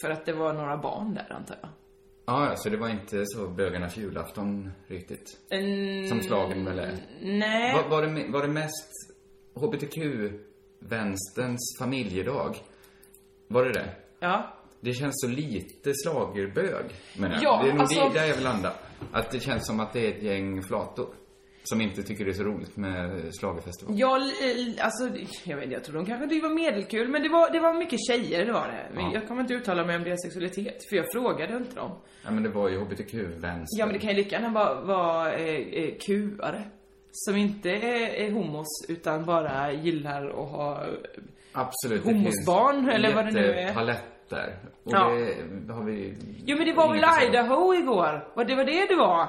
för att det var några barn där, antar jag. Ja, ja, så det var inte så bögarnas julafton riktigt. Mm, Som slagen väl är. Nej. Var, var, det, me- var det mest hbtq-vänsterns familjedag? Var det det? Ja. Det känns så lite slagerbög, menar jag. Ja, det är nog alltså- det, där jag vill landa. Att det känns som att det är ett gäng flator. Som inte tycker det är så roligt med schlagerfestival. Ja, li- alltså, jag vet inte, jag tror de kanske tyckte det var medelkul, men det var, det var mycket tjejer, det var det. Ja. Jag kommer inte uttala mig om deras sexualitet, för jag frågade inte dem. Ja, men det var ju hbtq-vänster. Ja, men det kan ju lika gärna vara, vara eh, eh, kuare. Som inte är, är homos, utan bara gillar att ha... eh, Absolut. Homosbarn, eller vad det nu är. paletter. Och Ja. det har vi... Jo, men det var inget väl att säga. Idaho igår? Vad det var det det var?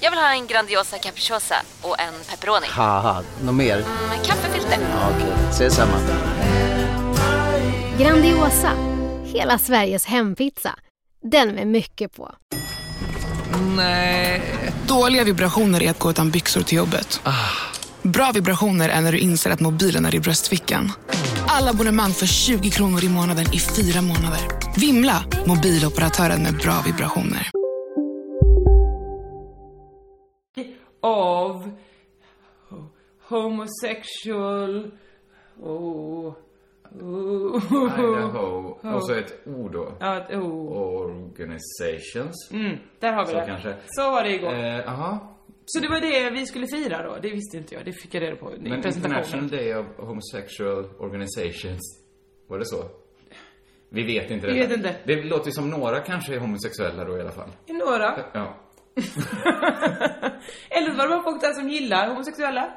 Jag vill ha en Grandiosa capriciosa och en pepperoni. haha, något mer? Med kaffefilter. Ja, Okej, ses samma. Grandiosa, hela Sveriges hempizza. Den med mycket på. Dåliga vibrationer är att gå utan byxor till jobbet. Bra vibrationer är när du inser att mobilen är i bröstfickan. Alla abonnemang för 20 kronor i månaden i fyra månader. Vimla! Mobiloperatören med bra vibrationer. Av homosexual... Oh. Oh. Idaho. Och så ett O då. Ja, ett oh. Organizations. Mm, där har vi Så det. kanske. Så var det igår. Eh, aha. Så det var det vi skulle fira då? Det visste inte jag. Det fick jag reda på i Men International presentationen. Day of Homosexual Organizations. Var det så? Vi vet inte det. Vi vet inte. Det låter ju som några kanske är homosexuella då i alla fall. I Några. Ja. Eller var det bara folk där som gillar homosexuella?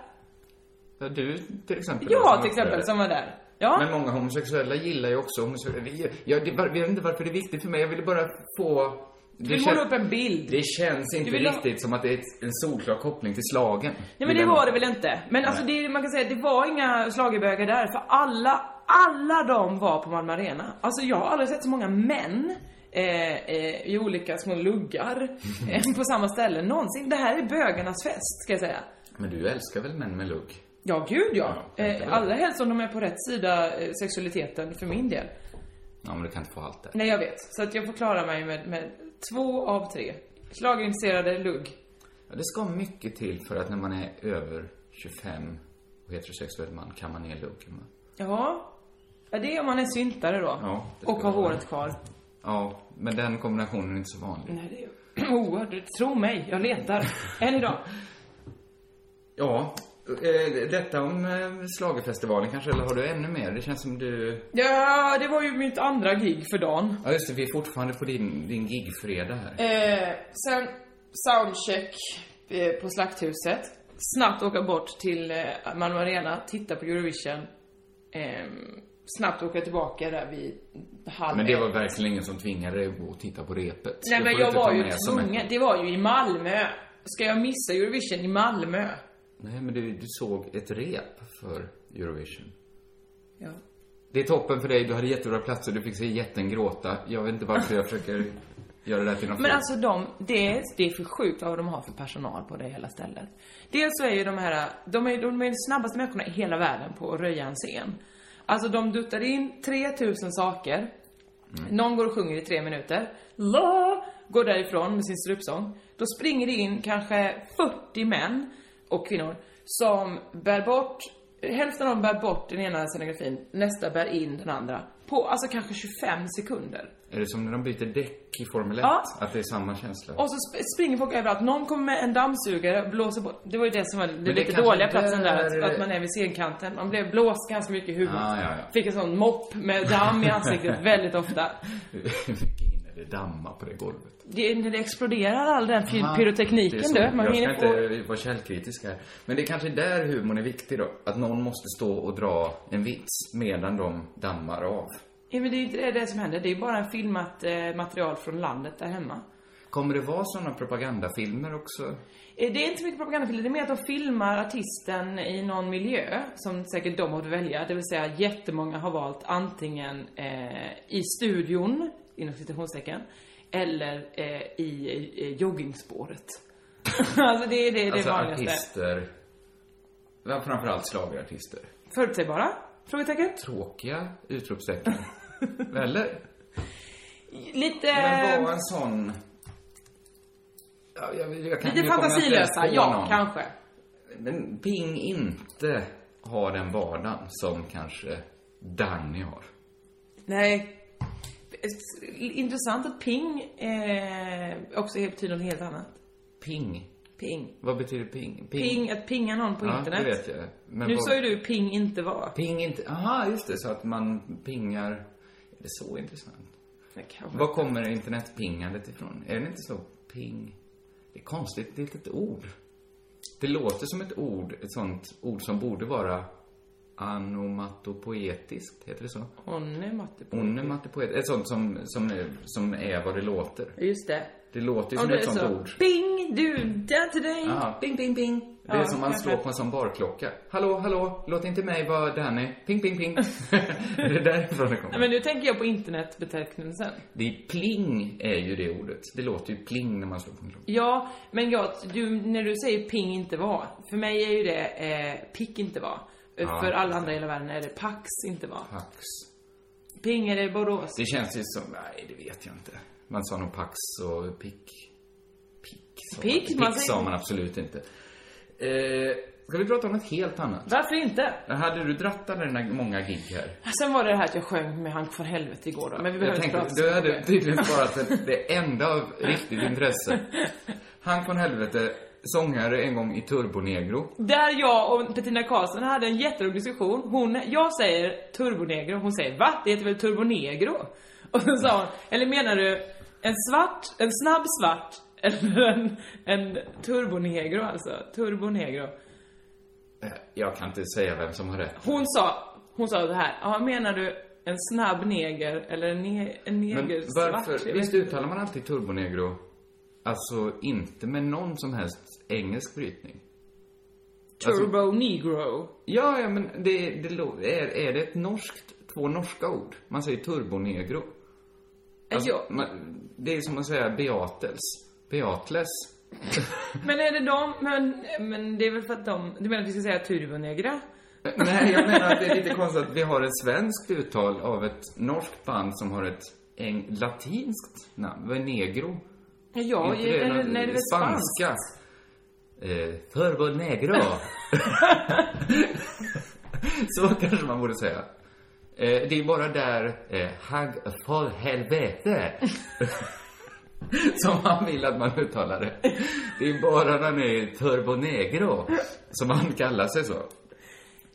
Ja, Du till exempel. då, Ja, som till exempel, uppträder. som var där. Ja. Men många homosexuella gillar ju också homosexuella. Vi- Jag det var- jag vet inte varför det är viktigt för mig. Jag ville bara få... du vill kän- måla upp en bild. det känns inte Du vill ha- riktigt som att det är ett- en solklar koppling till slagen. Nej men det var det väl inte. Men alltså det, man kan säga att det var inga schlagerbögar där för alla, alla de var på Malmö Arena. Alltså jag har aldrig sett så många män eh, eh, i olika små luggar eh, på samma ställe någonsin. Det här är bögarnas fest ska jag säga. Men du älskar väl män med lugg? Ja, gud ja. Ja, jag tänkte eh, det. allra helst om de är på rätt sida eh, sexualiteten för min del. Ja, men du kan inte få allt det. Nej, jag vet. Så att jag får klara mig med, med två av tre. Schlagerintresserade lugg. Ja, det ska mycket till för att när man är över 25 och heterosexuell man kan man ner luggen va? Ja. ja, det är om man är syntare då. Ja, det och ska har vara. håret kvar. Ja, men den kombinationen är inte så vanlig. Nej, det är oerhört. Tro mig, jag letar. Än idag. Ja, eh, detta om eh, schlagerfestivalen kanske, eller har du ännu mer? Det känns som du... Ja, det var ju mitt andra gig för dagen. Ja, just det, vi är fortfarande på din, din gigfredag här. Eh, sen soundcheck eh, på Slakthuset. Snabbt åka bort till eh, Malmö Arena, titta på Eurovision. Ehm, snabbt åka tillbaka där vid halv Men det var ett. verkligen ingen som tvingade dig att gå och titta på repet. eh. Nej men Det får du jag inte var ta ju med som en- tvungen. Det var ju i Malmö. Ska jag missa Eurovision i Malmö? Nej, men du, du såg ett rep för Eurovision. Ja. Det är toppen för dig, du hade jättebra platser, du fick se jätten gråta. Jag vet inte varför jag försöker göra det här till något Men fel. alltså de, det, det är för sjukt vad de har för personal på det hela stället. Dels så är ju de här, de är, de är de snabbaste människorna i hela världen på att röja en scen. Alltså de duttar in 3000 saker. Någon går och sjunger i tre minuter. La, går därifrån med sin strupsång. Då springer det in kanske 40 män och kvinnor som bär bort, hälften av dem bär bort den ena scenografin, nästa bär in den andra. På alltså kanske 25 sekunder. Är det som när de byter däck i Formel 1? Ja. Att det är samma känsla? Och så sp- springer folk överallt. Någon kommer med en dammsugare och blåser bort. Det var ju det som var den det lite kanske dåliga där- platsen där. Att, att man är vid scenkanten. Man blev blåst ganska mycket i huvudet. Ah, ja, ja. Fick en sån mopp med damm i ansiktet väldigt ofta. Hur mycket hinner det damma på det golvet? Det, det exploderar all den py- Aha, det är pyrotekniken så. du. Man Jag ska hinner få... inte vara källkritisk här. Men det är kanske där humorn är viktig då. Att någon måste stå och dra en vits medan de dammar av. Ja, men det är ju inte det, det som händer. Det är bara en filmat eh, material från landet där hemma. Kommer det vara sådana propagandafilmer också? Eh, Det är inte så mycket propagandafilmer, det är mer att de filmar artisten i någon miljö som säkert de har att välja. Det vill säga jättemånga har valt antingen eh, i studion, inom citationstecken, eller eh, i eh, joggingspåret. alltså det är det, är det alltså vanligaste. artister. Ja, Framförallt schlagerartister. Förutsägbara? Frågetecken? Tråkiga utropstecken. Eller? Lite... Ehm. Men var en sån... Ja, jag, jag kan, Lite nu kommer jag inte fantasilösa, ens på ja, någon. kanske. Men Ping inte har den vardagen som kanske Danny har. Nej. Intressant att ping eh, också betyder något helt annat. Ping. Ping. Vad betyder ping? Ping, att pinga någon på ja, internet. det vet jag. Men nu vad- sa ju du ping inte var. Ping inte... Aha, just det. Så att man pingar... Är det så intressant? Det kanske- Var kommer internetpingandet ifrån? Är det inte så? Ping. Det är konstigt. Det är ett litet ord. Det låter som ett ord, ett sånt ord som borde vara anomatopoetiskt. Heter det så? Onne matte på. Onomatopoetiskt. Ett sånt eh, som, som, är, som är vad det låter. Just det. Mm. Det låter ju Om som det är ett sånt så. ord. Ah. Ping, du, där till dig. Ja. Ping, ping, ping. Det är Ja, som man kanske. slår på en sån barklocka. Hallå, hallå, låt inte mig vara Danny. Ping, ping, ping. det är därifrån det kommer. Nej, men nu tänker jag på internetbetecknelsen. Det är pling är ju det ordet. Det låter ju pling när man slår på en klocka. Ja, men jag, du, när du säger ping inte var. För mig är ju det eh, pick inte var. Eh, Ja. För alla andra i hela världen är det pax inte var. Pax. Ping är det Borås. Det känns ju som, nej det vet jag inte. Man sa nog pax och pick. Pick sa Pick, man, man pick säger- sa man absolut inte. Eh, ska vi prata om något helt annat? Varför inte? Hade du dratt alla dina många gig här? Sen var det det här att jag sjöng med Hank von Helvete igår då. Men vi behöver Jag inte tänkte, prata så du mycket om hade det. tydligen sparat det- det enda av riktigt intresse. Hank von Helvete, sångare en gång i Turbonegro. Där jag och Petina Karlsson hade en jätterolig diskussion. Hon, jag säger turbonegro, hon säger va? Det heter väl turbonegro? Och så sa hon, eller menar du en svart, en snabb svart eller en, en turbonegro alltså? Turbonegro. Eh, Jag kan inte säga vem som har rätt. Hon sa, hon sa det här, ja menar du en snabb neger eller en, ne, en Men neger svart? varför, visst uttalar man alltid Turbonegro? Alltså inte med någon som helst engelsk brytning. alltså- Turbo negro. Ja, ja men det, det lå- är, är det ett norskt, två norska ord? Man säger Turbonegro. Alltså, Ja. man, det är som att säga Beatles. Beatles. Men är det de, men, men det är väl för att de, du menar att vi ska säga turbonegra? Nej, jag menar att det är lite konstigt att vi har ett svenskt uttal av ett norskt band som har ett eng- latinskt namn. Vad är negro? Ja, Inte det, är det, någon- nej, det är väl spanskt. spanska. Eh, Turbo negro. Så kanske man borde säga. Eh, det är bara där eh, hag för helvete som han vill att man uttalar det. Det är bara när han är turbo negro som han kallar sig så.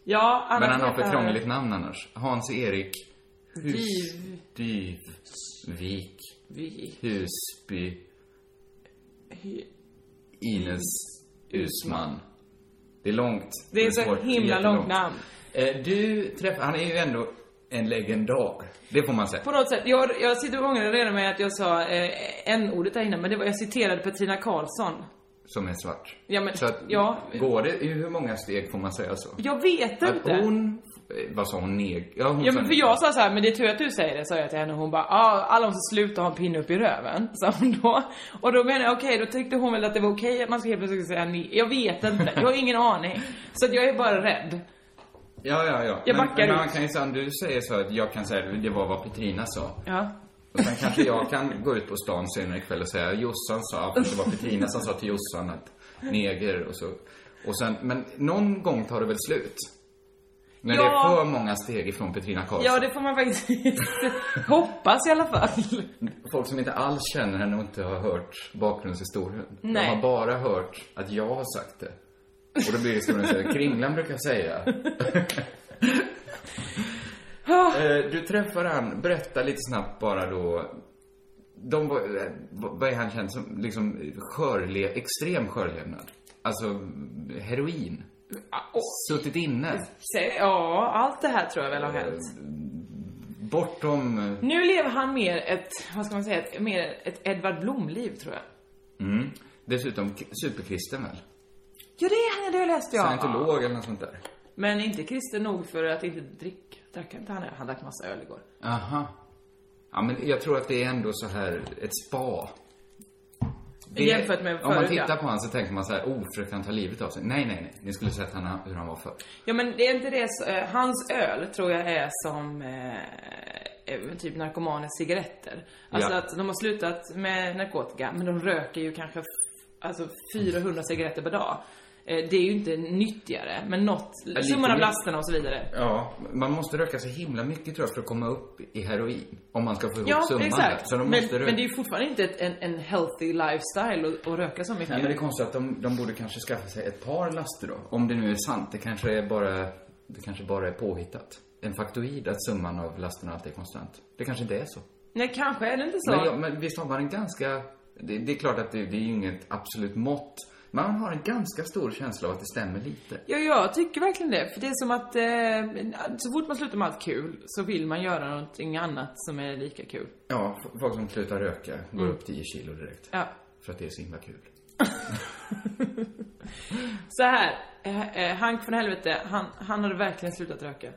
Ja, Eh, annars Men han har heter för krångligt namn annars. Hans-Erik Hus... Dyv- Dyvvik. Vik. Husby. Hy- Ines Usman. Det är långt. Det är så svårt, himla jättelångt. långt namn. Eh, Du träffar... Han är ju ändå en legendar. Det får man säga. På något sätt, jag, jag sitter och ångrar redan med att jag sa eh, n-ordet där innan, men det var, jag citerade Petrina Karlsson. Som är svart. Ja, men- så att, ja. Går det... i Hur många steg får man säga så? Jag vet Att inte. hon... eh, Vad sa hon? Neg... Ja, hon Ja sa men för neg- jag sa så här, men det är tur att du säger det, sa jag till henne och hon bara, ah, alla de som slutar har en pinne upp i röven, sa hon då. Och då menade jag, okej, då tyckte hon väl att det var okej att man ska helt plötsligt säga ni. Jag vet inte, jag har ingen aning. Så att jag är bara rädd. Ja, ja, ja. Jag men, backar men ut. man kan ju säga, om du säger så att jag kan säga det var vad Petrina sa. Ja. Och sen kanske jag kan gå ut på stan senare ikväll och säga Jossan sa, för det var Petrina som sa till Jossan att neger och så. Och sen, men någon gång tar det väl slut? När det Ja. är för många steg ifrån Petrina Karlsson. Ja, det får man faktiskt hoppas i alla fall. Folk som inte alls känner henne och inte har hört bakgrundshistorien. Nej. De har bara hört att jag har sagt det. Och då blir historien så här, Kringlan brukar säga. Ah. Eh, du träffar han, berätta lite snabbt bara då. De var, eh, vad vad är han känd som? Liksom skörle, extrem skörlevnad. Alltså heroin. Ah, Suttit inne. Säg- Ja, allt det här tror jag väl har hänt. Bortom... eh, Nu lever han mer ett, vad ska man säga, ett, mer ett Edvard Blom-liv tror jag. Mm. Dessutom k- superkristen väl? Ja, det är han, det har jag läst ja. Scientolog eller något sånt där. Men inte kristen nog för att inte dricka. Drack inte han öl? Han drack massa öl igår. Aha. Ja, men jag tror att det är ändå så här ett spa. Jämfört med Om man förut, tittar ja. på honom så tänker man så här, oh, försökte han ta livet av sig? Nej, nej, nej. Ni skulle sett han, hur han var förr. Ja men det är inte det, så- eh, hans öl tror jag är som eh, eh, typ narkomaners cigaretter. Alltså Ja. att de har slutat med narkotika, men de röker ju kanske f- alltså 400 cigaretter per dag. Eh, det är ju inte nyttigare, men något, lite summan av mer. lasterna och så vidare. Ja, man måste röka så himla mycket tror jag för att komma upp i heroin. Om man ska få ihop Ja, summan där. exakt. Så de men, måste röka. men det är ju fortfarande inte ett, en, en healthy lifestyle att- att röka så mycket. Nej, men det är konstigt att de, de borde kanske skaffa sig ett par laster då. Om det nu är sant. Det kanske är bara, det kanske bara är påhittat. En faktoid att summan av lasterna alltid är konstant. Det kanske inte är så. Nej, kanske är det inte så. Men, ja, men visst har man en ganska... Det, det är klart att det, det är ju inget absolut mått. Men man har en ganska stor känsla av att det stämmer lite. Ja, jag tycker verkligen det. För det är som att eh, så fort man slutar med allt kul så vill man göra någonting annat som är lika kul. Ja, f- folk som slutar röka går Mm. upp 10 kilo direkt. Ja. För att det är så himla kul. Så här, eh, eh, Hank från helvete, han, han hade verkligen slutat röka.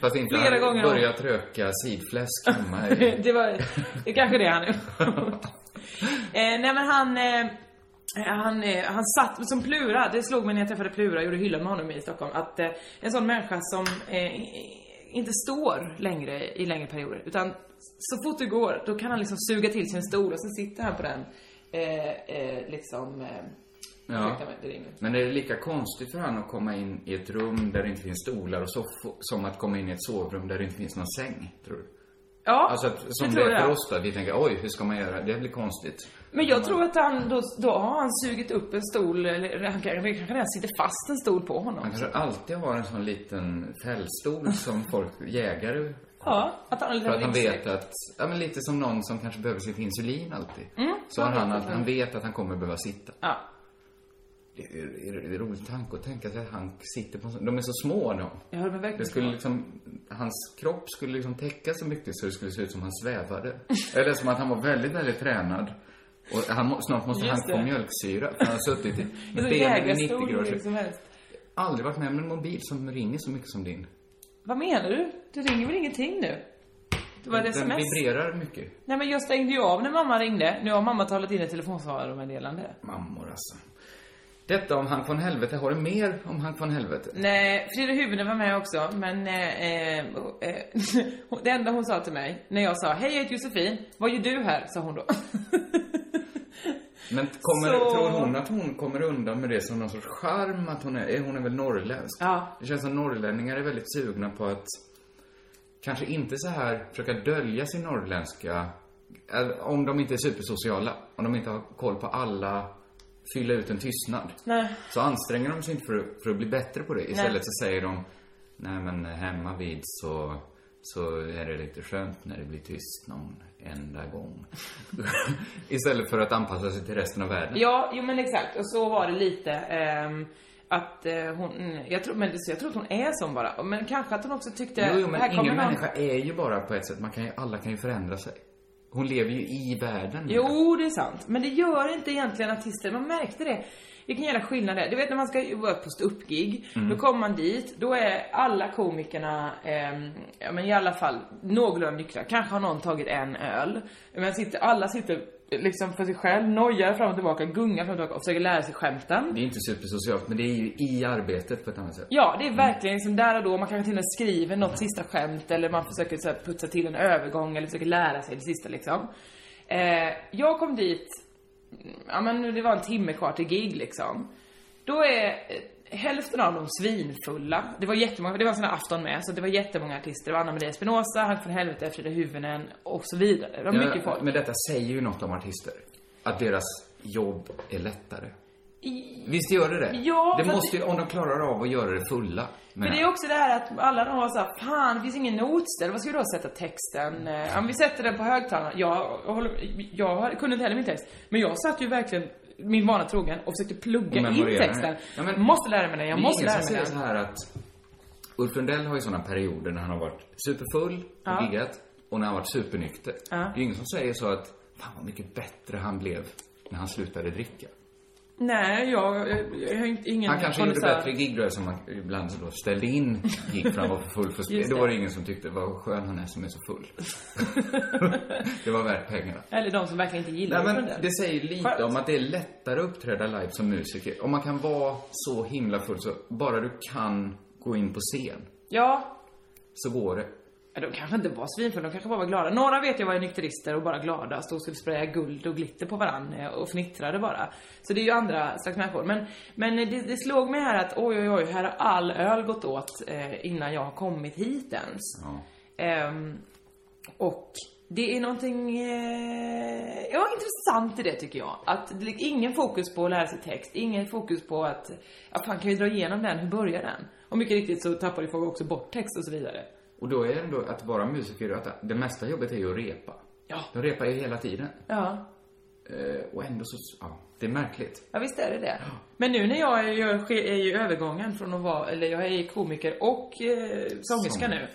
Fast inte Flera har gånger om. börjat röka sidfläsk hemma. i- det var, det är kanske det han är. eh, nej men han, eh, han, eh, han satt som Plura, det slog mig när jag träffade Plura och gjorde hylla med honom i Stockholm, att eh, en sån människa som eh, inte står längre i längre perioder, utan så fort det går, då kan han liksom suga till sin stol och så sitter han på den, eh, eh, liksom, eh, Ja. ursäkta mig, det ringer. Men är det lika konstigt för han att komma in i ett rum där det inte finns stolar och soffor som att komma in i ett sovrum där det inte finns någon säng, tror du? Ja, Alltså att, som det det, tror är för jag. oss då, vi tänker oj, hur ska man göra? Det blir konstigt. Men jag tror att han, då, då har han sugit upp en stol, eller han kanske kanske redan sitter fast en stol på honom. Man kanske alltid har en sån liten fällstol som folk, jägare, Ja, att han har för att lite han ryggsäck. vet att, ja men lite som någon som kanske behöver sitt insulin alltid. Mm, Så jag har vet han, att inte. han vet att han kommer behöva sitta. Ja. Det är, är, är, det en rolig tanke att tänka sig att han sitter på en sån- De är så små de. Ja, de är verkligen Det skulle små. liksom, hans kropp skulle liksom täcka så mycket så det skulle se ut som han svävade. Eller som att han var väldigt, väldigt tränad. Och han, må- snart måste Just han få det. mjölksyra för han har suttit i Det är som med benen i jägarstol 90 hur grader. som liksom helst. Aldrig varit med om en mobil som ringer så mycket som din. Vad menar du? Det ringer väl ingenting nu? Det var ett Den sms. vibrerar mycket. Nej men jag stängde ju av när mamma ringde. Nu har mamma talat in ett telefonsvararmeddelande. Mammor alltså. Detta om han från helvete. Har du mer om han från helvete? Nej, Frida Huvuden var med också, men eh, eh, eh, det enda hon sa till mig när jag sa hej jag heter Josefin, vad gör du här? sa hon då. Men kommer, Så- tror hon att hon kommer undan med det som någon sorts charm att hon är? eh, Hon är väl norrländsk? Ja. Det känns som norrlänningar är väldigt sugna på att kanske inte så här försöka dölja sin norrländska eh, om de inte är supersociala, om de inte har koll på alla, fylla ut en tystnad. Nej. Så anstränger de sig inte för, att- för att bli bättre på det. Istället så säger de, nej men hemma vid så, så är det lite skönt när det blir tyst någon enda gång. Istället för att anpassa sig till resten av världen. Ja, jo men exakt. Och så var det lite. ehm, att eh, hon, mm, jag tror, men så jag tror att hon är sån bara. Men kanske att hon också tyckte, jo, jo, men här kommer ingen någon. människa är ju bara på ett sätt, man kan ju, alla kan ju förändra sig. Hon lever ju i världen. Jo, det är sant. Men det gör inte egentligen artister. Man märkte det. Vilken jävla skillnad det är. Du vet när man ska vara på ståuppgig, Mm. då kommer man dit, då är alla komikerna, ehm, ja men i alla fall någorlunda nyktra. Kanske har någon tagit en öl. Men sitter, alla sitter liksom för sig själv, nojar fram och tillbaka, gungar fram och tillbaka och försöker lära sig skämten. Det är inte supersocialt, men det är ju i arbetet på ett annat sätt. Ja, det är verkligen som där och då, man kanske till och med skriver något sista skämt eller man försöker så här, putsa till en övergång eller försöker lära sig det sista liksom. Eh, jag kom dit, ja men det var en timme kvar till gig liksom. Då är eh, hälften av dem svinfulla. Det var jättemånga, det var en sån här afton med, så det var jättemånga artister. Det var Anna Maria Espinosa, Hank von Helvete, Frida Hyvönen och så vidare. Det var Ja, mycket folk. Men detta säger ju något om artister. Att deras jobb är lättare. Visst gör det det? Ja, det för att- måste ju, om de klarar av att göra det fulla. Men det är också det här att alla de var såhär, fan det finns ingen notställ, vad ska vi då sätta texten? Mm. Eh, Ja men vi sätter den på högtalarna. Jag, jag, håller, jag kunde inte heller min text. Men jag satt ju verkligen, min vana trogen, och försökte plugga Och in memorera texten. den. Ja, men- måste lära mig den, jag Det är måste ingen lära som mig säger den. så här att Ulf Lundell har ju såna perioder när han har varit superfull och Ja. giggat och när han har varit supernykter. Ja. Det är ju ingen som säger så att fan vad mycket bättre han blev när han slutade dricka. Nej, jag, jag, jag har inte- ingen han kanske gjorde kondensör. bättre gig då som han ibland då ställde in gig för han var för full för att spela. Just Då det. var det ingen som tyckte vad skön han är som är så full. det var värt pengarna. Eller de som verkligen inte gillar Nej, men den. det säger ju lite Skönt. om att det är lättare att uppträda live som musiker. Om man kan vara så himla full så bara du kan gå in på scen Ja, så går det. Ja, de kanske inte var svinfulla, de kanske bara var glada. Några vet jag var ju nykterister och bara glada, stod och skulle spraya guld och glitter på varandra och fnittrade bara. Så det är ju andra slags människor. Men, men det, det slog mig här att oj, oj, oj, här har all öl gått åt eh, innan jag har kommit hit ens. Ehm, och det är någonting eh, ja, intressant i det tycker jag. Att det, ingen fokus på att lära sig text, ingen fokus på att, ja fan kan vi dra igenom den, hur börjar den? Och mycket riktigt så tappade folk också bort text och så vidare. Och då är det ändå att vara musiker, att det mesta jobbet är ju att repa. Ja. De repar ju hela tiden. Ja. Eh, och ändå så, ja, det är märkligt. Ja visst är det det. Men nu när jag gör ske- är ju övergången från att vara, eller jag är komiker och eh, sångerska Sång. nu.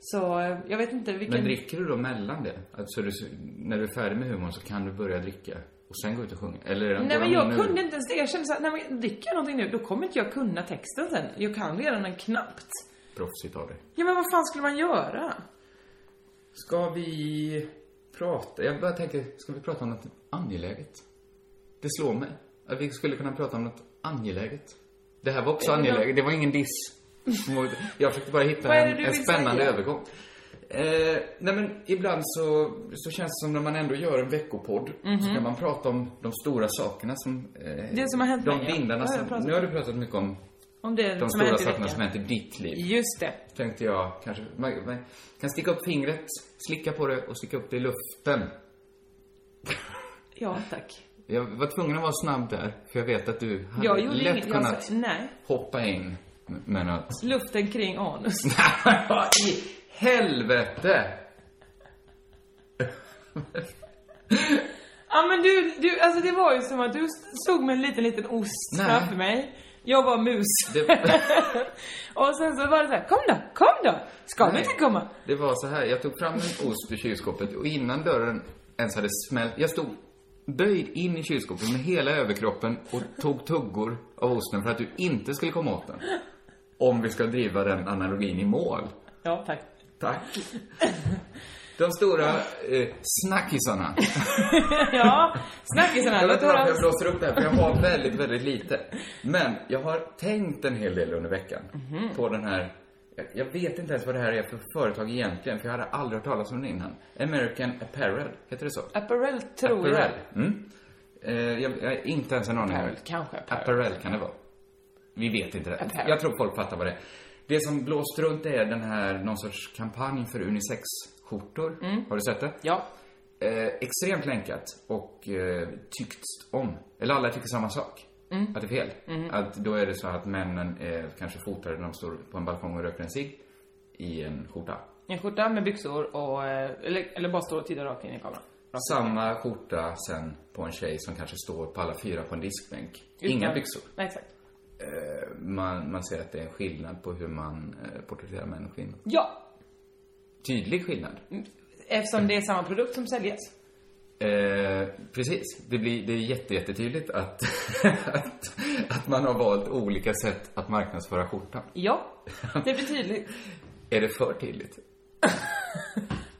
Så eh, jag vet inte vilken... Men dricker du då mellan det? Alltså, du, när du är färdig med humorn så kan du börja dricka och sen gå ut och sjunga? Eller Nej men jag kunde inte. inte ens det. Jag kände såhär, nej men dricker jag någonting nu, då kommer inte jag kunna texten sen. Jag kan redan den knappt. Proffsigt av dig. Ja men vad fan skulle man göra? Ska vi prata? Jag bara tänker, ska vi prata om något angeläget? Det slår mig. Att vi skulle kunna prata om något angeläget. Det här var också Är det angeläget. något- Det var ingen diss. mot- Jag försökte bara hitta Vad är det en, du en vill spännande säga? övergång. Eh, nej men ibland så, så känns det som när man ändå gör en veckopodd så Mhm. kan man prata om de stora sakerna som... eh, Det som har hänt De mig, ja. vindarna Ja, jag har som... pratat Nu har du pratat mycket om Om det de som har stora hänt i sakerna veckan. som hänt i ditt liv. Just det. Tänkte jag kanske. Man, man kan sticka upp fingret, slicka på det och sticka upp det i luften. Ja tack. Jag var tvungen att vara snabb där, för jag vet att du hade Jag gjorde lätt inget, jag kunnat sa, nej. hoppa in. Men att... Luften kring anus. Vad i helvete! Ja men du, du, alltså det var ju som att du stod med en liten, liten ost Nej. framför mig. Jag var mus. Det, Och sen så var det så här, kom då, kom då! Ska du Nej. inte komma? det var så här, jag tog fram en ost ur kylskåpet och innan dörren ens hade smält... Jag stod böjd in i kylskåpet med hela överkroppen och tog tuggor av osten för att du inte skulle komma åt den. Om vi ska driva den analogin i mål. Ja, tack. Tack. De stora eh, snackisarna. ja, snackisarna. Jag Låt vet inte varför jag höra. blåser upp det här, för jag har väldigt, väldigt lite. Men jag har tänkt en hel del under veckan Mhm. på den här... jag- Jag vet inte ens vad det här är för företag egentligen, för jag hade aldrig hört talas om det innan. American Apparel, heter det så? Apparel tror jag. Apparel. Mm. Eh, jag, jag har inte ens en aning. Apparel, kanske apparel. Apparel kan det vara. Vi vet inte det. Apparel. Jag tror folk fattar vad det är. Det som blåst runt är den här, någon sorts kampanj för unisex-skjortor. Mm. Har du sett det? Ja. Eh, extremt länkat och eh, tyckts om. Eller alla tycker samma sak. Mm. Att det är fel. Mm. Att då är det så att männen är kanske fotade när de står på en balkong och röker en cigg i en skjorta. En skjorta med byxor och, eh, eller, eller bara står och tittar rakt in i kameran. Samma skjorta sen på en tjej som kanske står på alla fyra på en diskbänk. Inga Utan- byxor. Nej, exakt. Eh, man, man ser att det är en skillnad på hur man eh, porträtterar män och kvinnor. Ja, Tydlig skillnad. Mm. eftersom det är samma produkt som säljes. Eh, precis. Det, blir, det är jätte, jättetydligt att, att, att man har valt olika sätt att marknadsföra skjortan. Ja, det blir tydligt. Är det för tydligt?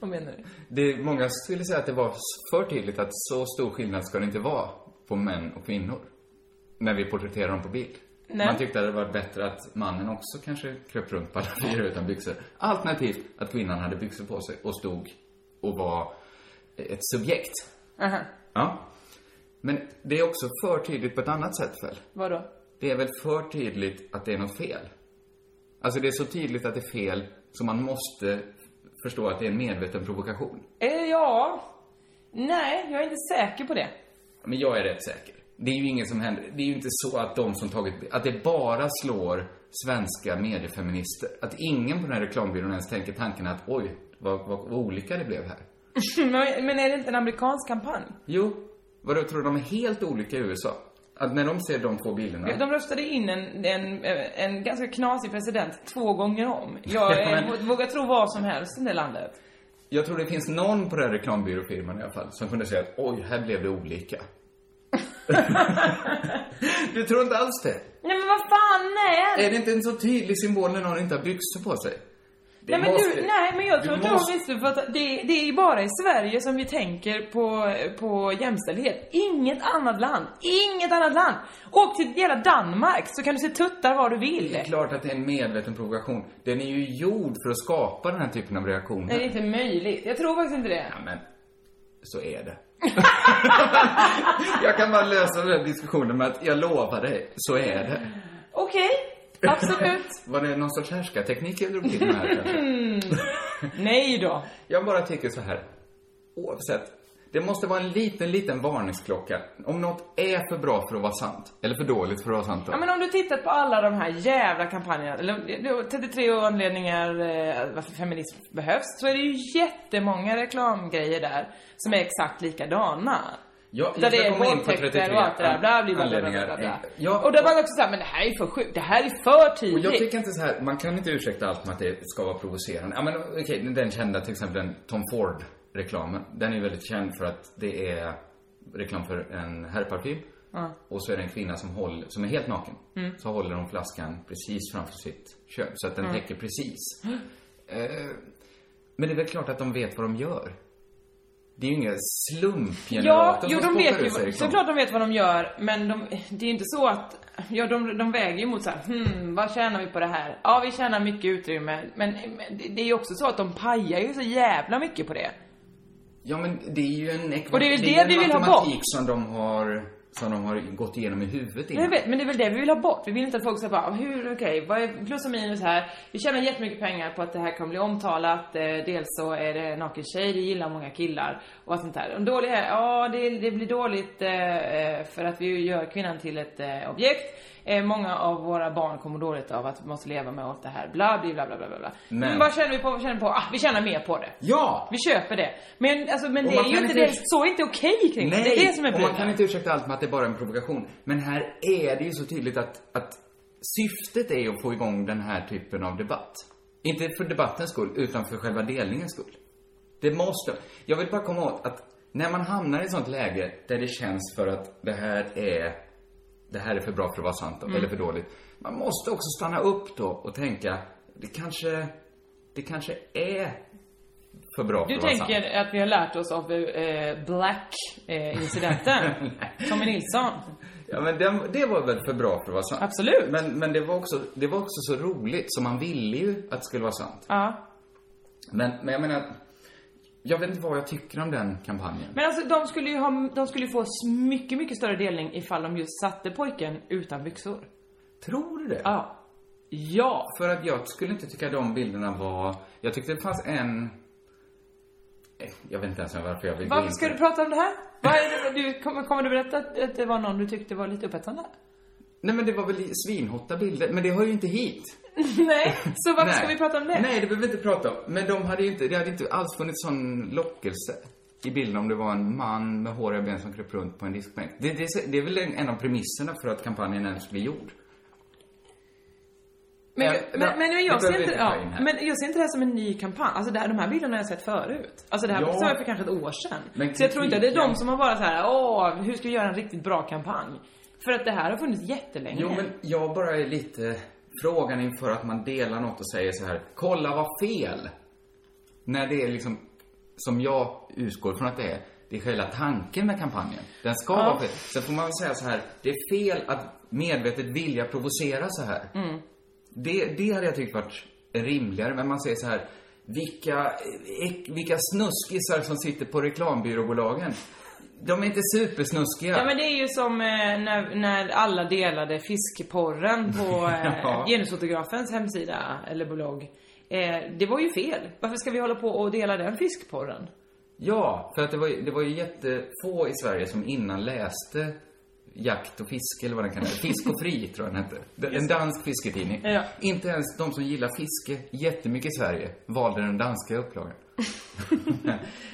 Vad menar du? Det, många skulle säga att det var för tydligt att så stor skillnad ska det inte vara på män och kvinnor. När vi porträtterar dem på bild. Nej. Man tyckte att det var bättre att mannen också kanske kröp runt på alla fyra utan byxor. Alternativt att kvinnan hade byxor på sig och stod och var ett subjekt. Aha. Ja. Men det är också för tydligt på ett annat sätt väl? Vadå? Det är väl för tydligt att det är något fel? Alltså det är så tydligt att det är fel så man måste förstå att det är en medveten provokation. Eh, ja. Nej, jag är inte säker på det. Men jag är rätt säker. Det är ju ingen som händer. Det är ju inte så att de som tagit... Att det bara slår svenska mediefeminister. Att ingen på den här reklambyrån ens tänker tanken att oj, vad, vad, vad olika det blev här. Men- Men är det inte en amerikansk kampanj? Jo, vadå, tror du de är helt olika i USA? Att när de ser de två bilderna... De röstade in en, en, en ganska knasig president två gånger om. Jag Ja, eh, men- vågar tro vad som helst i det landet. Jag tror det finns någon på den här reklambyråfirman i alla fall som kunde säga att oj, här blev det olika. du tror inte alls det? Nej men vad fan, nej! Är det inte en så tydlig symbol när någon inte har byxor på sig? Det Nej men, måste- du, nej men jag du tror att måste- de visste för att det, det är ju bara i Sverige som vi tänker på, på jämställdhet. Inget annat land, inget annat land! Åk till hela Danmark så kan du se tuttar var du vill. Det är klart att det är en medveten provokation. Den är ju gjord för att skapa den här typen av reaktioner. Nej det är inte möjligt, jag tror faktiskt inte det. Men så är det. jag kan bara lösa den här diskussionen med att jag lovar dig, så är det. Okej, absolut. Var det någon sorts härskarteknik jag drog till med här kanske? Nej då. Jag bara tycker så här. Oavsett. Det måste vara en liten, liten varningsklocka. Om något är för bra för att vara sant. Eller för dåligt för att vara sant. Då. Ja men om du tittat på alla de här jävla kampanjerna, eller 33 anledningar eh, varför feminism behövs, så är det ju jättemånga reklamgrejer där som är exakt likadana. Ja, där jag det ska är komma in på våldtäkter 33 och allt det där, bla bla bla bla bla, bla, bla. anledningar. Ja, och där var det också såhär, men det här är för sjukt, det här är för Och tydligt. jag tycker inte så här, man kan inte ursäkta allt med att det ska vara provocerande. Ja men okej, den kända till exempel den Tom Ford-reklamen. Den är ju väldigt känd för att det är reklam för en herrparfym. Ja. Och så är det en kvinna som, håller, som är helt naken. Mm. Så håller hon flaskan precis framför sitt kön. Så att den Mm. täcker precis. Eh, men det är väl klart att de vet vad de gör. Det är ju inga Ja, slumpgenerator jo som de vet spottar ju, ut sig, liksom. såklart de vet vad de gör, men de, det är ju inte så att, ja de, de väger ju mot såhär, hmm, vad tjänar vi på det här? Ja vi tjänar mycket utrymme, men, men det, det är ju också så att de pajar ju så jävla mycket på det. Ja, men det är ju en ekvation. Och det är väl det vi vill ha matematik som de har, som de har gått igenom i huvudet Men, jag innan. vet, men det är väl det vi vill ha bort, vi vill inte att folk ska bara, hur, okej, vad är plus och minus här? Vi tjänar jättemycket pengar på att det här kommer bli omtalat, eh, dels så är det naken tjej, det gillar många killar och allt sånt där. Och dålig här, ja det, det blir dåligt eh, eh, för att vi gör kvinnan till ett eh, objekt. Eh, många av våra barn kommer dåligt av att vi måste leva med allt det här, bla bla bla bla bla bla. Men, Men- vad känner vi på, vad känner vi på? Ah, vi tjänar mer på det. Ja! Vi köper det. Men alltså, men Och det man är ju kan inte inte- det, så är inte okej kring det. Det är det som är och man kan problemet. inte ursäkta allt med att det bara är en provokation. Men här är det ju så tydligt att, att syftet är att få igång den här typen av debatt. Inte för debattens skull, utan för själva delningens skull. Det måste... Jag vill bara komma åt att när man hamnar i ett sånt läge där det känns för att det här är... Det här är för bra för att vara sant, Mm. eller för dåligt. Man måste också stanna upp då och tänka, det kanske... Det kanske är för bra för Du att vara sant. tänker att vi har lärt oss av eh, Black-incidenten? Tommy Nilsson? Ja, men den, det var väl för bra för att vara sant? Absolut. Men, men det, var också, det var också så roligt, så man ville ju att det skulle vara sant. Ja. Men, men jag menar, jag vet inte vad jag tycker om den kampanjen. Men alltså de skulle ju ha, de skulle ju få s- mycket, mycket större delning ifall de just satte pojken utan byxor. Tror du det? Ja. Ja! För att jag skulle inte tycka de bilderna var... Jag tyckte det fanns en... Eh, Jag vet inte ens varför jag vill gå Varför in ska på du det. prata om det här? Vad är det, du, kommer, kommer du berätta att, att det var någon du tyckte var lite upphetsande? Nej men det var väl svinhotta bilder, men det hör ju inte hit. Nej, så varför Nej. ska vi prata om det? Nej, det behöver vi inte prata om. Men de hade ju inte, det hade inte alls funnits sån lockelse i bilden om det var en man med håriga ben som kröp runt på en diskbänk. Det, det, det är väl en, en av premisserna för att kampanjen ens blir gjord. Men, Eh, men, men, det jag ser behöver inte, vi ta ja, in här. men jag ser inte det här som en ny kampanj. Alltså det här, de här bilderna har jag sett förut. Alltså det här Ja. sa jag för kanske ett år sedan. Men så jag tror inte att det är de kritiken- som har bara så här, åh, hur ska vi göra en riktigt bra kampanj? För att det här har funnits jättelänge. Jo, men jag bara är lite frågan inför att man delar något och säger så här, kolla vad fel. När det är liksom som jag utgår från att det är, det är själva tanken med kampanjen. Den ska Ja. vara fel. Sen får man väl säga så här, det är fel att medvetet vilja provocera så här. Mm. Det, det hade jag tyckt varit rimligare, men man säger så här, vilka, äck- vilka snuskisar som sitter på reklambyråbolagen. De är inte supersnuskiga. Ja men det är ju som eh, när, när alla delade fiskporren på eh, Ja. genusfotografens hemsida eller blogg. Eh, det var ju fel. Varför ska vi hålla på och dela den fiskporren? Ja, för att det var, ju- det var ju jättefå i Sverige som innan läste Jakt och fiske, eller vad den kan heta. Fisk och fri, tror jag den hette. Den- En dansk fisketidning. Ja. Inte ens de som gillar fiske jättemycket i Sverige valde den danska upplagan.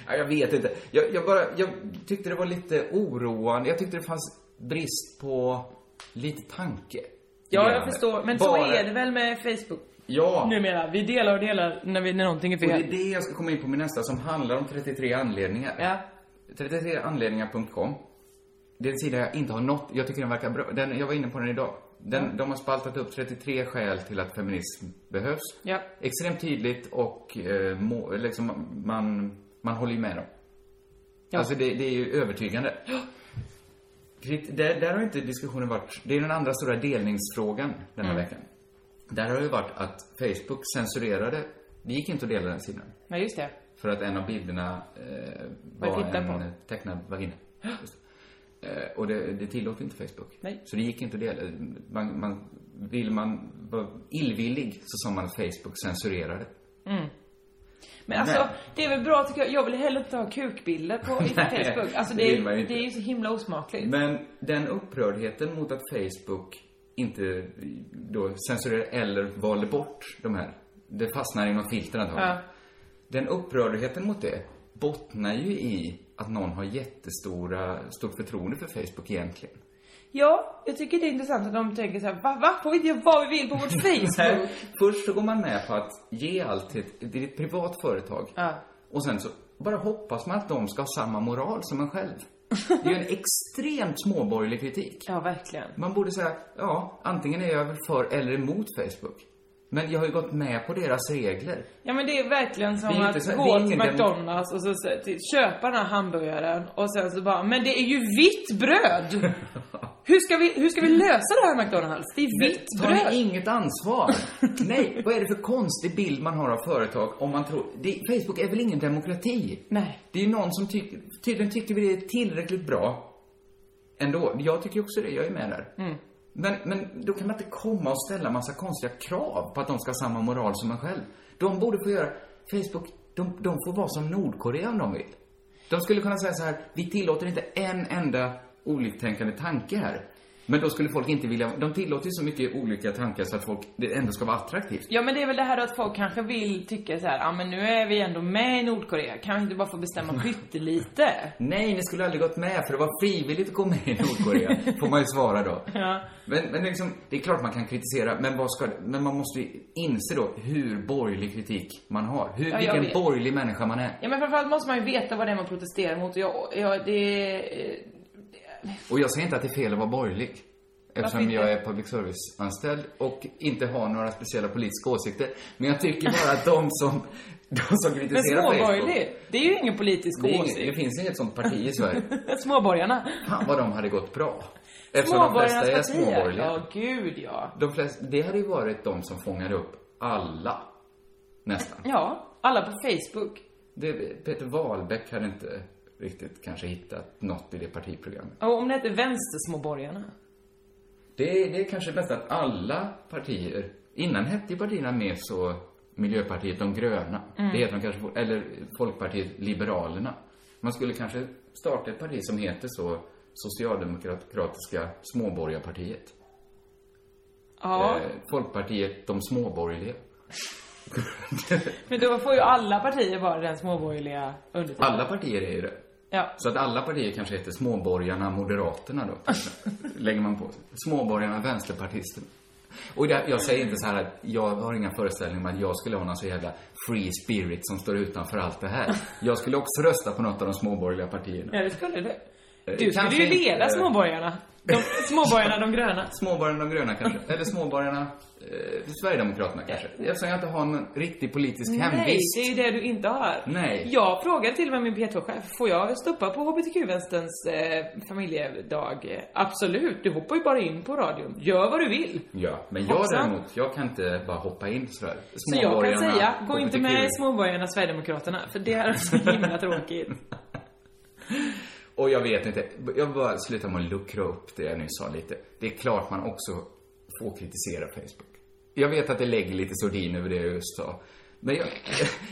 ja, jag vet inte. Jag, jag bara, jag tyckte det var lite oroande. Jag tyckte det fanns brist på lite tanke. Ja, jag Gärande. förstår. Men Bara- så är det väl med Facebook? Ja. Numera. Vi delar och delar när, vi, när någonting är fel. Och det är det jag ska komma in på med nästa som handlar om 33 anledningar. Ja. 33anledningar.com. Det är en sida jag inte har nått. Jag tycker den verkar bra. Den, jag var inne på den idag. Den, De har spaltat upp 33 skäl till att feminism behövs. Ja. Extremt tydligt och eh, må, liksom, man, man håller ju med dem. Ja. Alltså det, det är ju övertygande. Krit- Där, där har inte diskussionen varit... Det är den andra stora delningsfrågan den här Mm. veckan. Där har det varit att Facebook censurerade... Det gick inte att dela den sidan. Nej, just det. För att en av bilderna eh, Vad var tittar en på? tecknad vagina. Just det. Eh, och det, det tillåter inte Facebook. Nej. Så det gick inte att dela. Man, man, vill man vara illvillig så sa man att Facebook censurerade. Mm. Men alltså, Nej. det är väl bra tycker jag. Jag vill hellre inte ha kukbilder på i Nej, Facebook. Alltså det det, vill är, man ju inte. det är ju så himla osmakligt. Men den upprördheten mot att Facebook inte då censurerar eller valde bort de här. Det fastnar i någon filter antagligen. Ja. Den upprördheten mot det bottnar ju i att någon har jättestora, stort förtroende för Facebook egentligen. Ja, jag tycker det är intressant att de tänker så här, va, va? Får vi inte göra vad vi vill på vårt Nej, Facebook? först så går man med på att ge allt till ett, till ett privat företag. Ja. Och sen så bara hoppas man att de ska ha samma moral som en själv. Det är ju en extremt småborgerlig kritik. Ja, verkligen. Man borde säga, ja, antingen är jag väl för eller emot Facebook. Men jag har ju gått med på deras regler. Ja men det är verkligen som Det är inte att så- det är gå till ingen dem- McDonalds och så, så till, köpa den här hamburgaren och sen så bara, men det är ju vitt bröd! hur, ska vi, hur ska vi lösa det här McDonalds? Det är vitt Tar bröd! ni inget ansvar? Nej, vad är det för konstig bild man har av företag om man tror... Det, Facebook är väl ingen demokrati? Nej. Det är ju någon som tycker... Tydligen tycker vi det är tillräckligt bra ändå. Jag tycker också det, jag är med där. Mm. Men, men då kan man inte komma och ställa massa konstiga krav på att de ska ha samma moral som en själv. De borde få göra... Facebook, de, de får vara som Nordkorea om de vill. De skulle kunna säga så här, vi tillåter inte en enda oliktänkande tanke här. Men då skulle folk inte vilja... De tillåter ju så mycket olika tankar så att folk, det ändå ska vara attraktivt. Ja men det är väl det här att folk kanske vill tycka så här, ja ah, men nu är vi ändå med i Nordkorea, kan vi inte bara få bestämma pyttelite? Nej, ni skulle aldrig gått med för det var frivilligt att gå med i Nordkorea. får man ju svara då. Ja. Men, men liksom, det är klart man kan kritisera, men, vad ska, men man måste ju inse då hur borgerlig kritik man har. Hur, Ja, jag vilken vet. borgerlig människa man är. Ja men framförallt måste man ju veta vad det är man protesterar mot och jag, jag det... eh, Och jag säger inte att det är fel att vara borgerlig. Eftersom Varför inte? jag är public service-anställd och inte har några speciella politiska åsikter. Men jag tycker bara att de som, de som Men kritiserar småborgerlig, det är ju ingen politisk Det, är inget, det åsikt. finns inget sånt parti i Sverige. Småborgarna. Fan vad de hade gått bra. Eftersom de Småborgarnas flesta är partier. småborgerliga. Ja, gud ja. De flesta, det hade ju varit de som fångade upp alla. Nästan. Ja, alla på Facebook. Det, Peter Wahlbeck hade inte riktigt kanske hittat något i det partiprogrammet. Och om det heter Vänstersmåborgarna. Det, är- det är kanske bäst att alla partier, innan hette ju partierna mer så Miljöpartiet de gröna. Mm. Det heter de kanske, fort- eller Folkpartiet Liberalerna. Man skulle kanske starta ett parti som heter så Socialdemokratiska småborgarpartiet. Ja, Eh, Folkpartiet de småborgerliga. men då får ju alla partier vara den småborgerliga undertiteln. Alla partier är ju det. Ja. Så att alla partier kanske heter Småborgarna Moderaterna då. kanske. Lägger man på sig. Småborgarna Vänsterpartisterna. Och det, jag säger inte så här att jag har inga föreställningar om att jag skulle ha någon så jävla free spirit som står utanför allt det här. Jag skulle också rösta på något av de småborgerliga partierna. Ja, det skulle du. Du skulle ju eh, leda småborgarna. De, småborgarna de gröna. Småborgarna de gröna kanske. Eller småborgarna eh, Sverigedemokraterna kanske. Eftersom jag inte har någon riktig politisk Nej, hemvist. det är ju det du inte har. Nej. Jag frågade till och med min P2-chef, får jag stoppa på HBTQ-vänsterns eh, familjedag? Eh, Absolut, du hoppar ju bara in på radion. Gör vad du vill. Ja, men jag Hoppsan. däremot, jag kan inte bara hoppa in sådär. Så jag kan Småborgarna, säga, gå inte med i HBTQ. småborgarna Sverigedemokraterna, för det är så himla tråkigt. Och jag vet inte, jag bara slutar med att luckra upp det jag nyss sa lite. Det är klart man också får kritisera Facebook. Jag vet att det lägger lite sordin över det jag just sa. Men jag,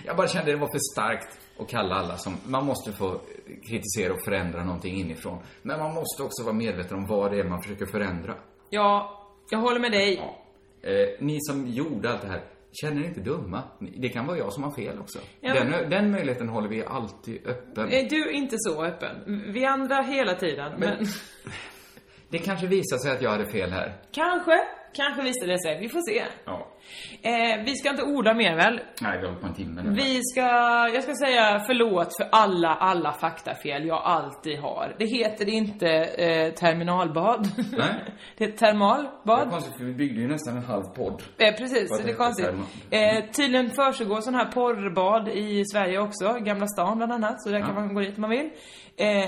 jag bara kände det var för starkt att kalla alla som, man måste få kritisera och förändra någonting inifrån. Men man måste också vara medveten om vad det är man försöker förändra. Ja, jag håller med dig. Eh, ni som gjorde allt det här, känner er inte dumma. Det kan vara jag som har fel också. Ja, Eh. den, men- den möjligheten håller vi alltid öppen. Är du inte så öppen? Vi andra hela tiden, men... Det kanske visar sig att jag hade fel här. Kanske, kanske visar det sig. Vi får se. Ja. Eh, vi ska inte orda mer väl? Nej, vi har hållit på en timme nu. Vi ska, jag ska säga förlåt för alla, alla faktafel jag alltid har. Det heter inte eh, terminalbad. Nej. Det heter termalbad. Det är konstigt för vi byggde ju nästan en halv podd. Eh, precis, Vad det är heter konstigt. termo- Eh, tydligen försiggår sådana här porrbad i Sverige också, Gamla stan bland annat, så där Ja. kan man gå dit om man vill. Eh,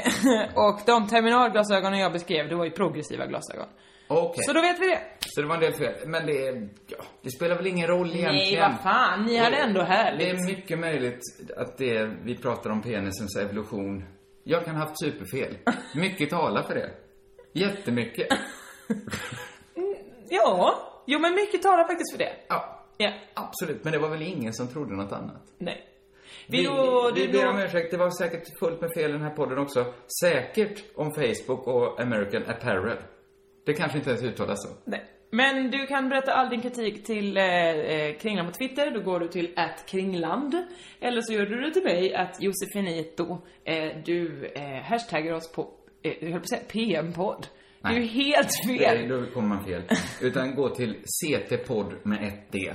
och de terminalglasögonen jag beskrev, det var ju progressiva glasögon. Okej. Så då vet vi det. Så det var en del fel. Men det, är- ja, det spelar väl ingen roll egentligen. vad fan, ni hade Det- ändå härligt. Det är mycket möjligt att det vi pratar om penisens evolution. Jag kan ha haft superfel. Mycket talar för det. Jättemycket. Ja, jo men mycket talar faktiskt för det. Ja. Ja. Absolut. Men det var väl ingen som trodde något annat. Nej. Vi, då- vi det- ber då- om ursäkt. Det var säkert fullt med fel i den här podden också. Säkert om Facebook och American Apparel. Det kanske inte ens uttalas så. Nej. Men du kan berätta all din kritik till eh, eh, Kringlan på Twitter. Då går du till @kringland. Eller så gör du det till mig, att Josefinito. Eh, du eh, hashtaggar oss på, eh, jag höll på att säga PM-podd. Det är ju helt Nej, fel. då kommer man fel. Utan gå till CT-podd med ett D.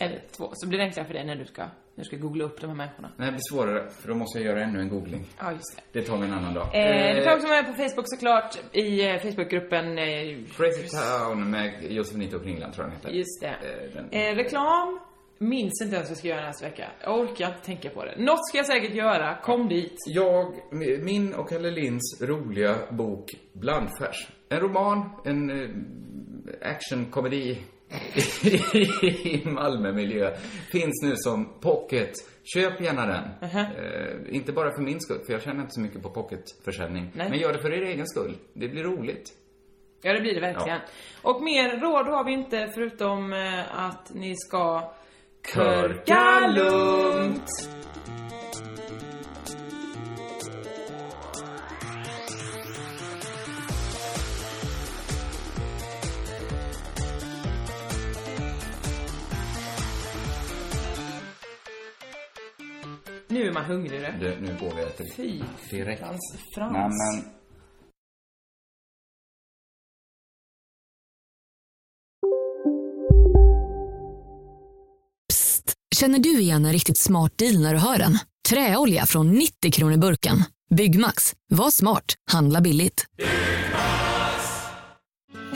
Eller två, så blir det enklare för dig när du ska, när du ska googla upp de här människorna. Nej, det blir svårare, för då måste jag göra ännu en googling. Ja, just det. Det tar vi en annan dag. Eh, du kan också vara med på Facebook såklart, i eh, Facebookgruppen. Eh, Crazy Town med Josefinito Kringland, tror jag den heter. Just det. Eh, den- Eh, reklam. Minns inte ens vad jag ska göra nästa vecka. Jag orkar inte tänka på det. Något ska jag säkert göra. Kom dit. Jag, min och Kalle Linds roliga bok Blandfärs. En roman, en eh, actionkomedi i Malmömiljö. Finns nu som pocket. Köp gärna den. Eh, inte bara för min skull, för jag känner inte så mycket på pocketförsäljning. Nej. Men gör det för er egen skull. Det blir roligt. Ja, det blir det verkligen. Och mer råd har vi inte förutom eh, att ni ska Körka lugnt. Nu är man hungrigare. Du, nu går vi och äter Fy direkt. Frans. Nej, men- Känner du igen en riktigt smart deal när du hör den? Träolja från 90 kronor burken. Byggmax. Var smart. Handla billigt.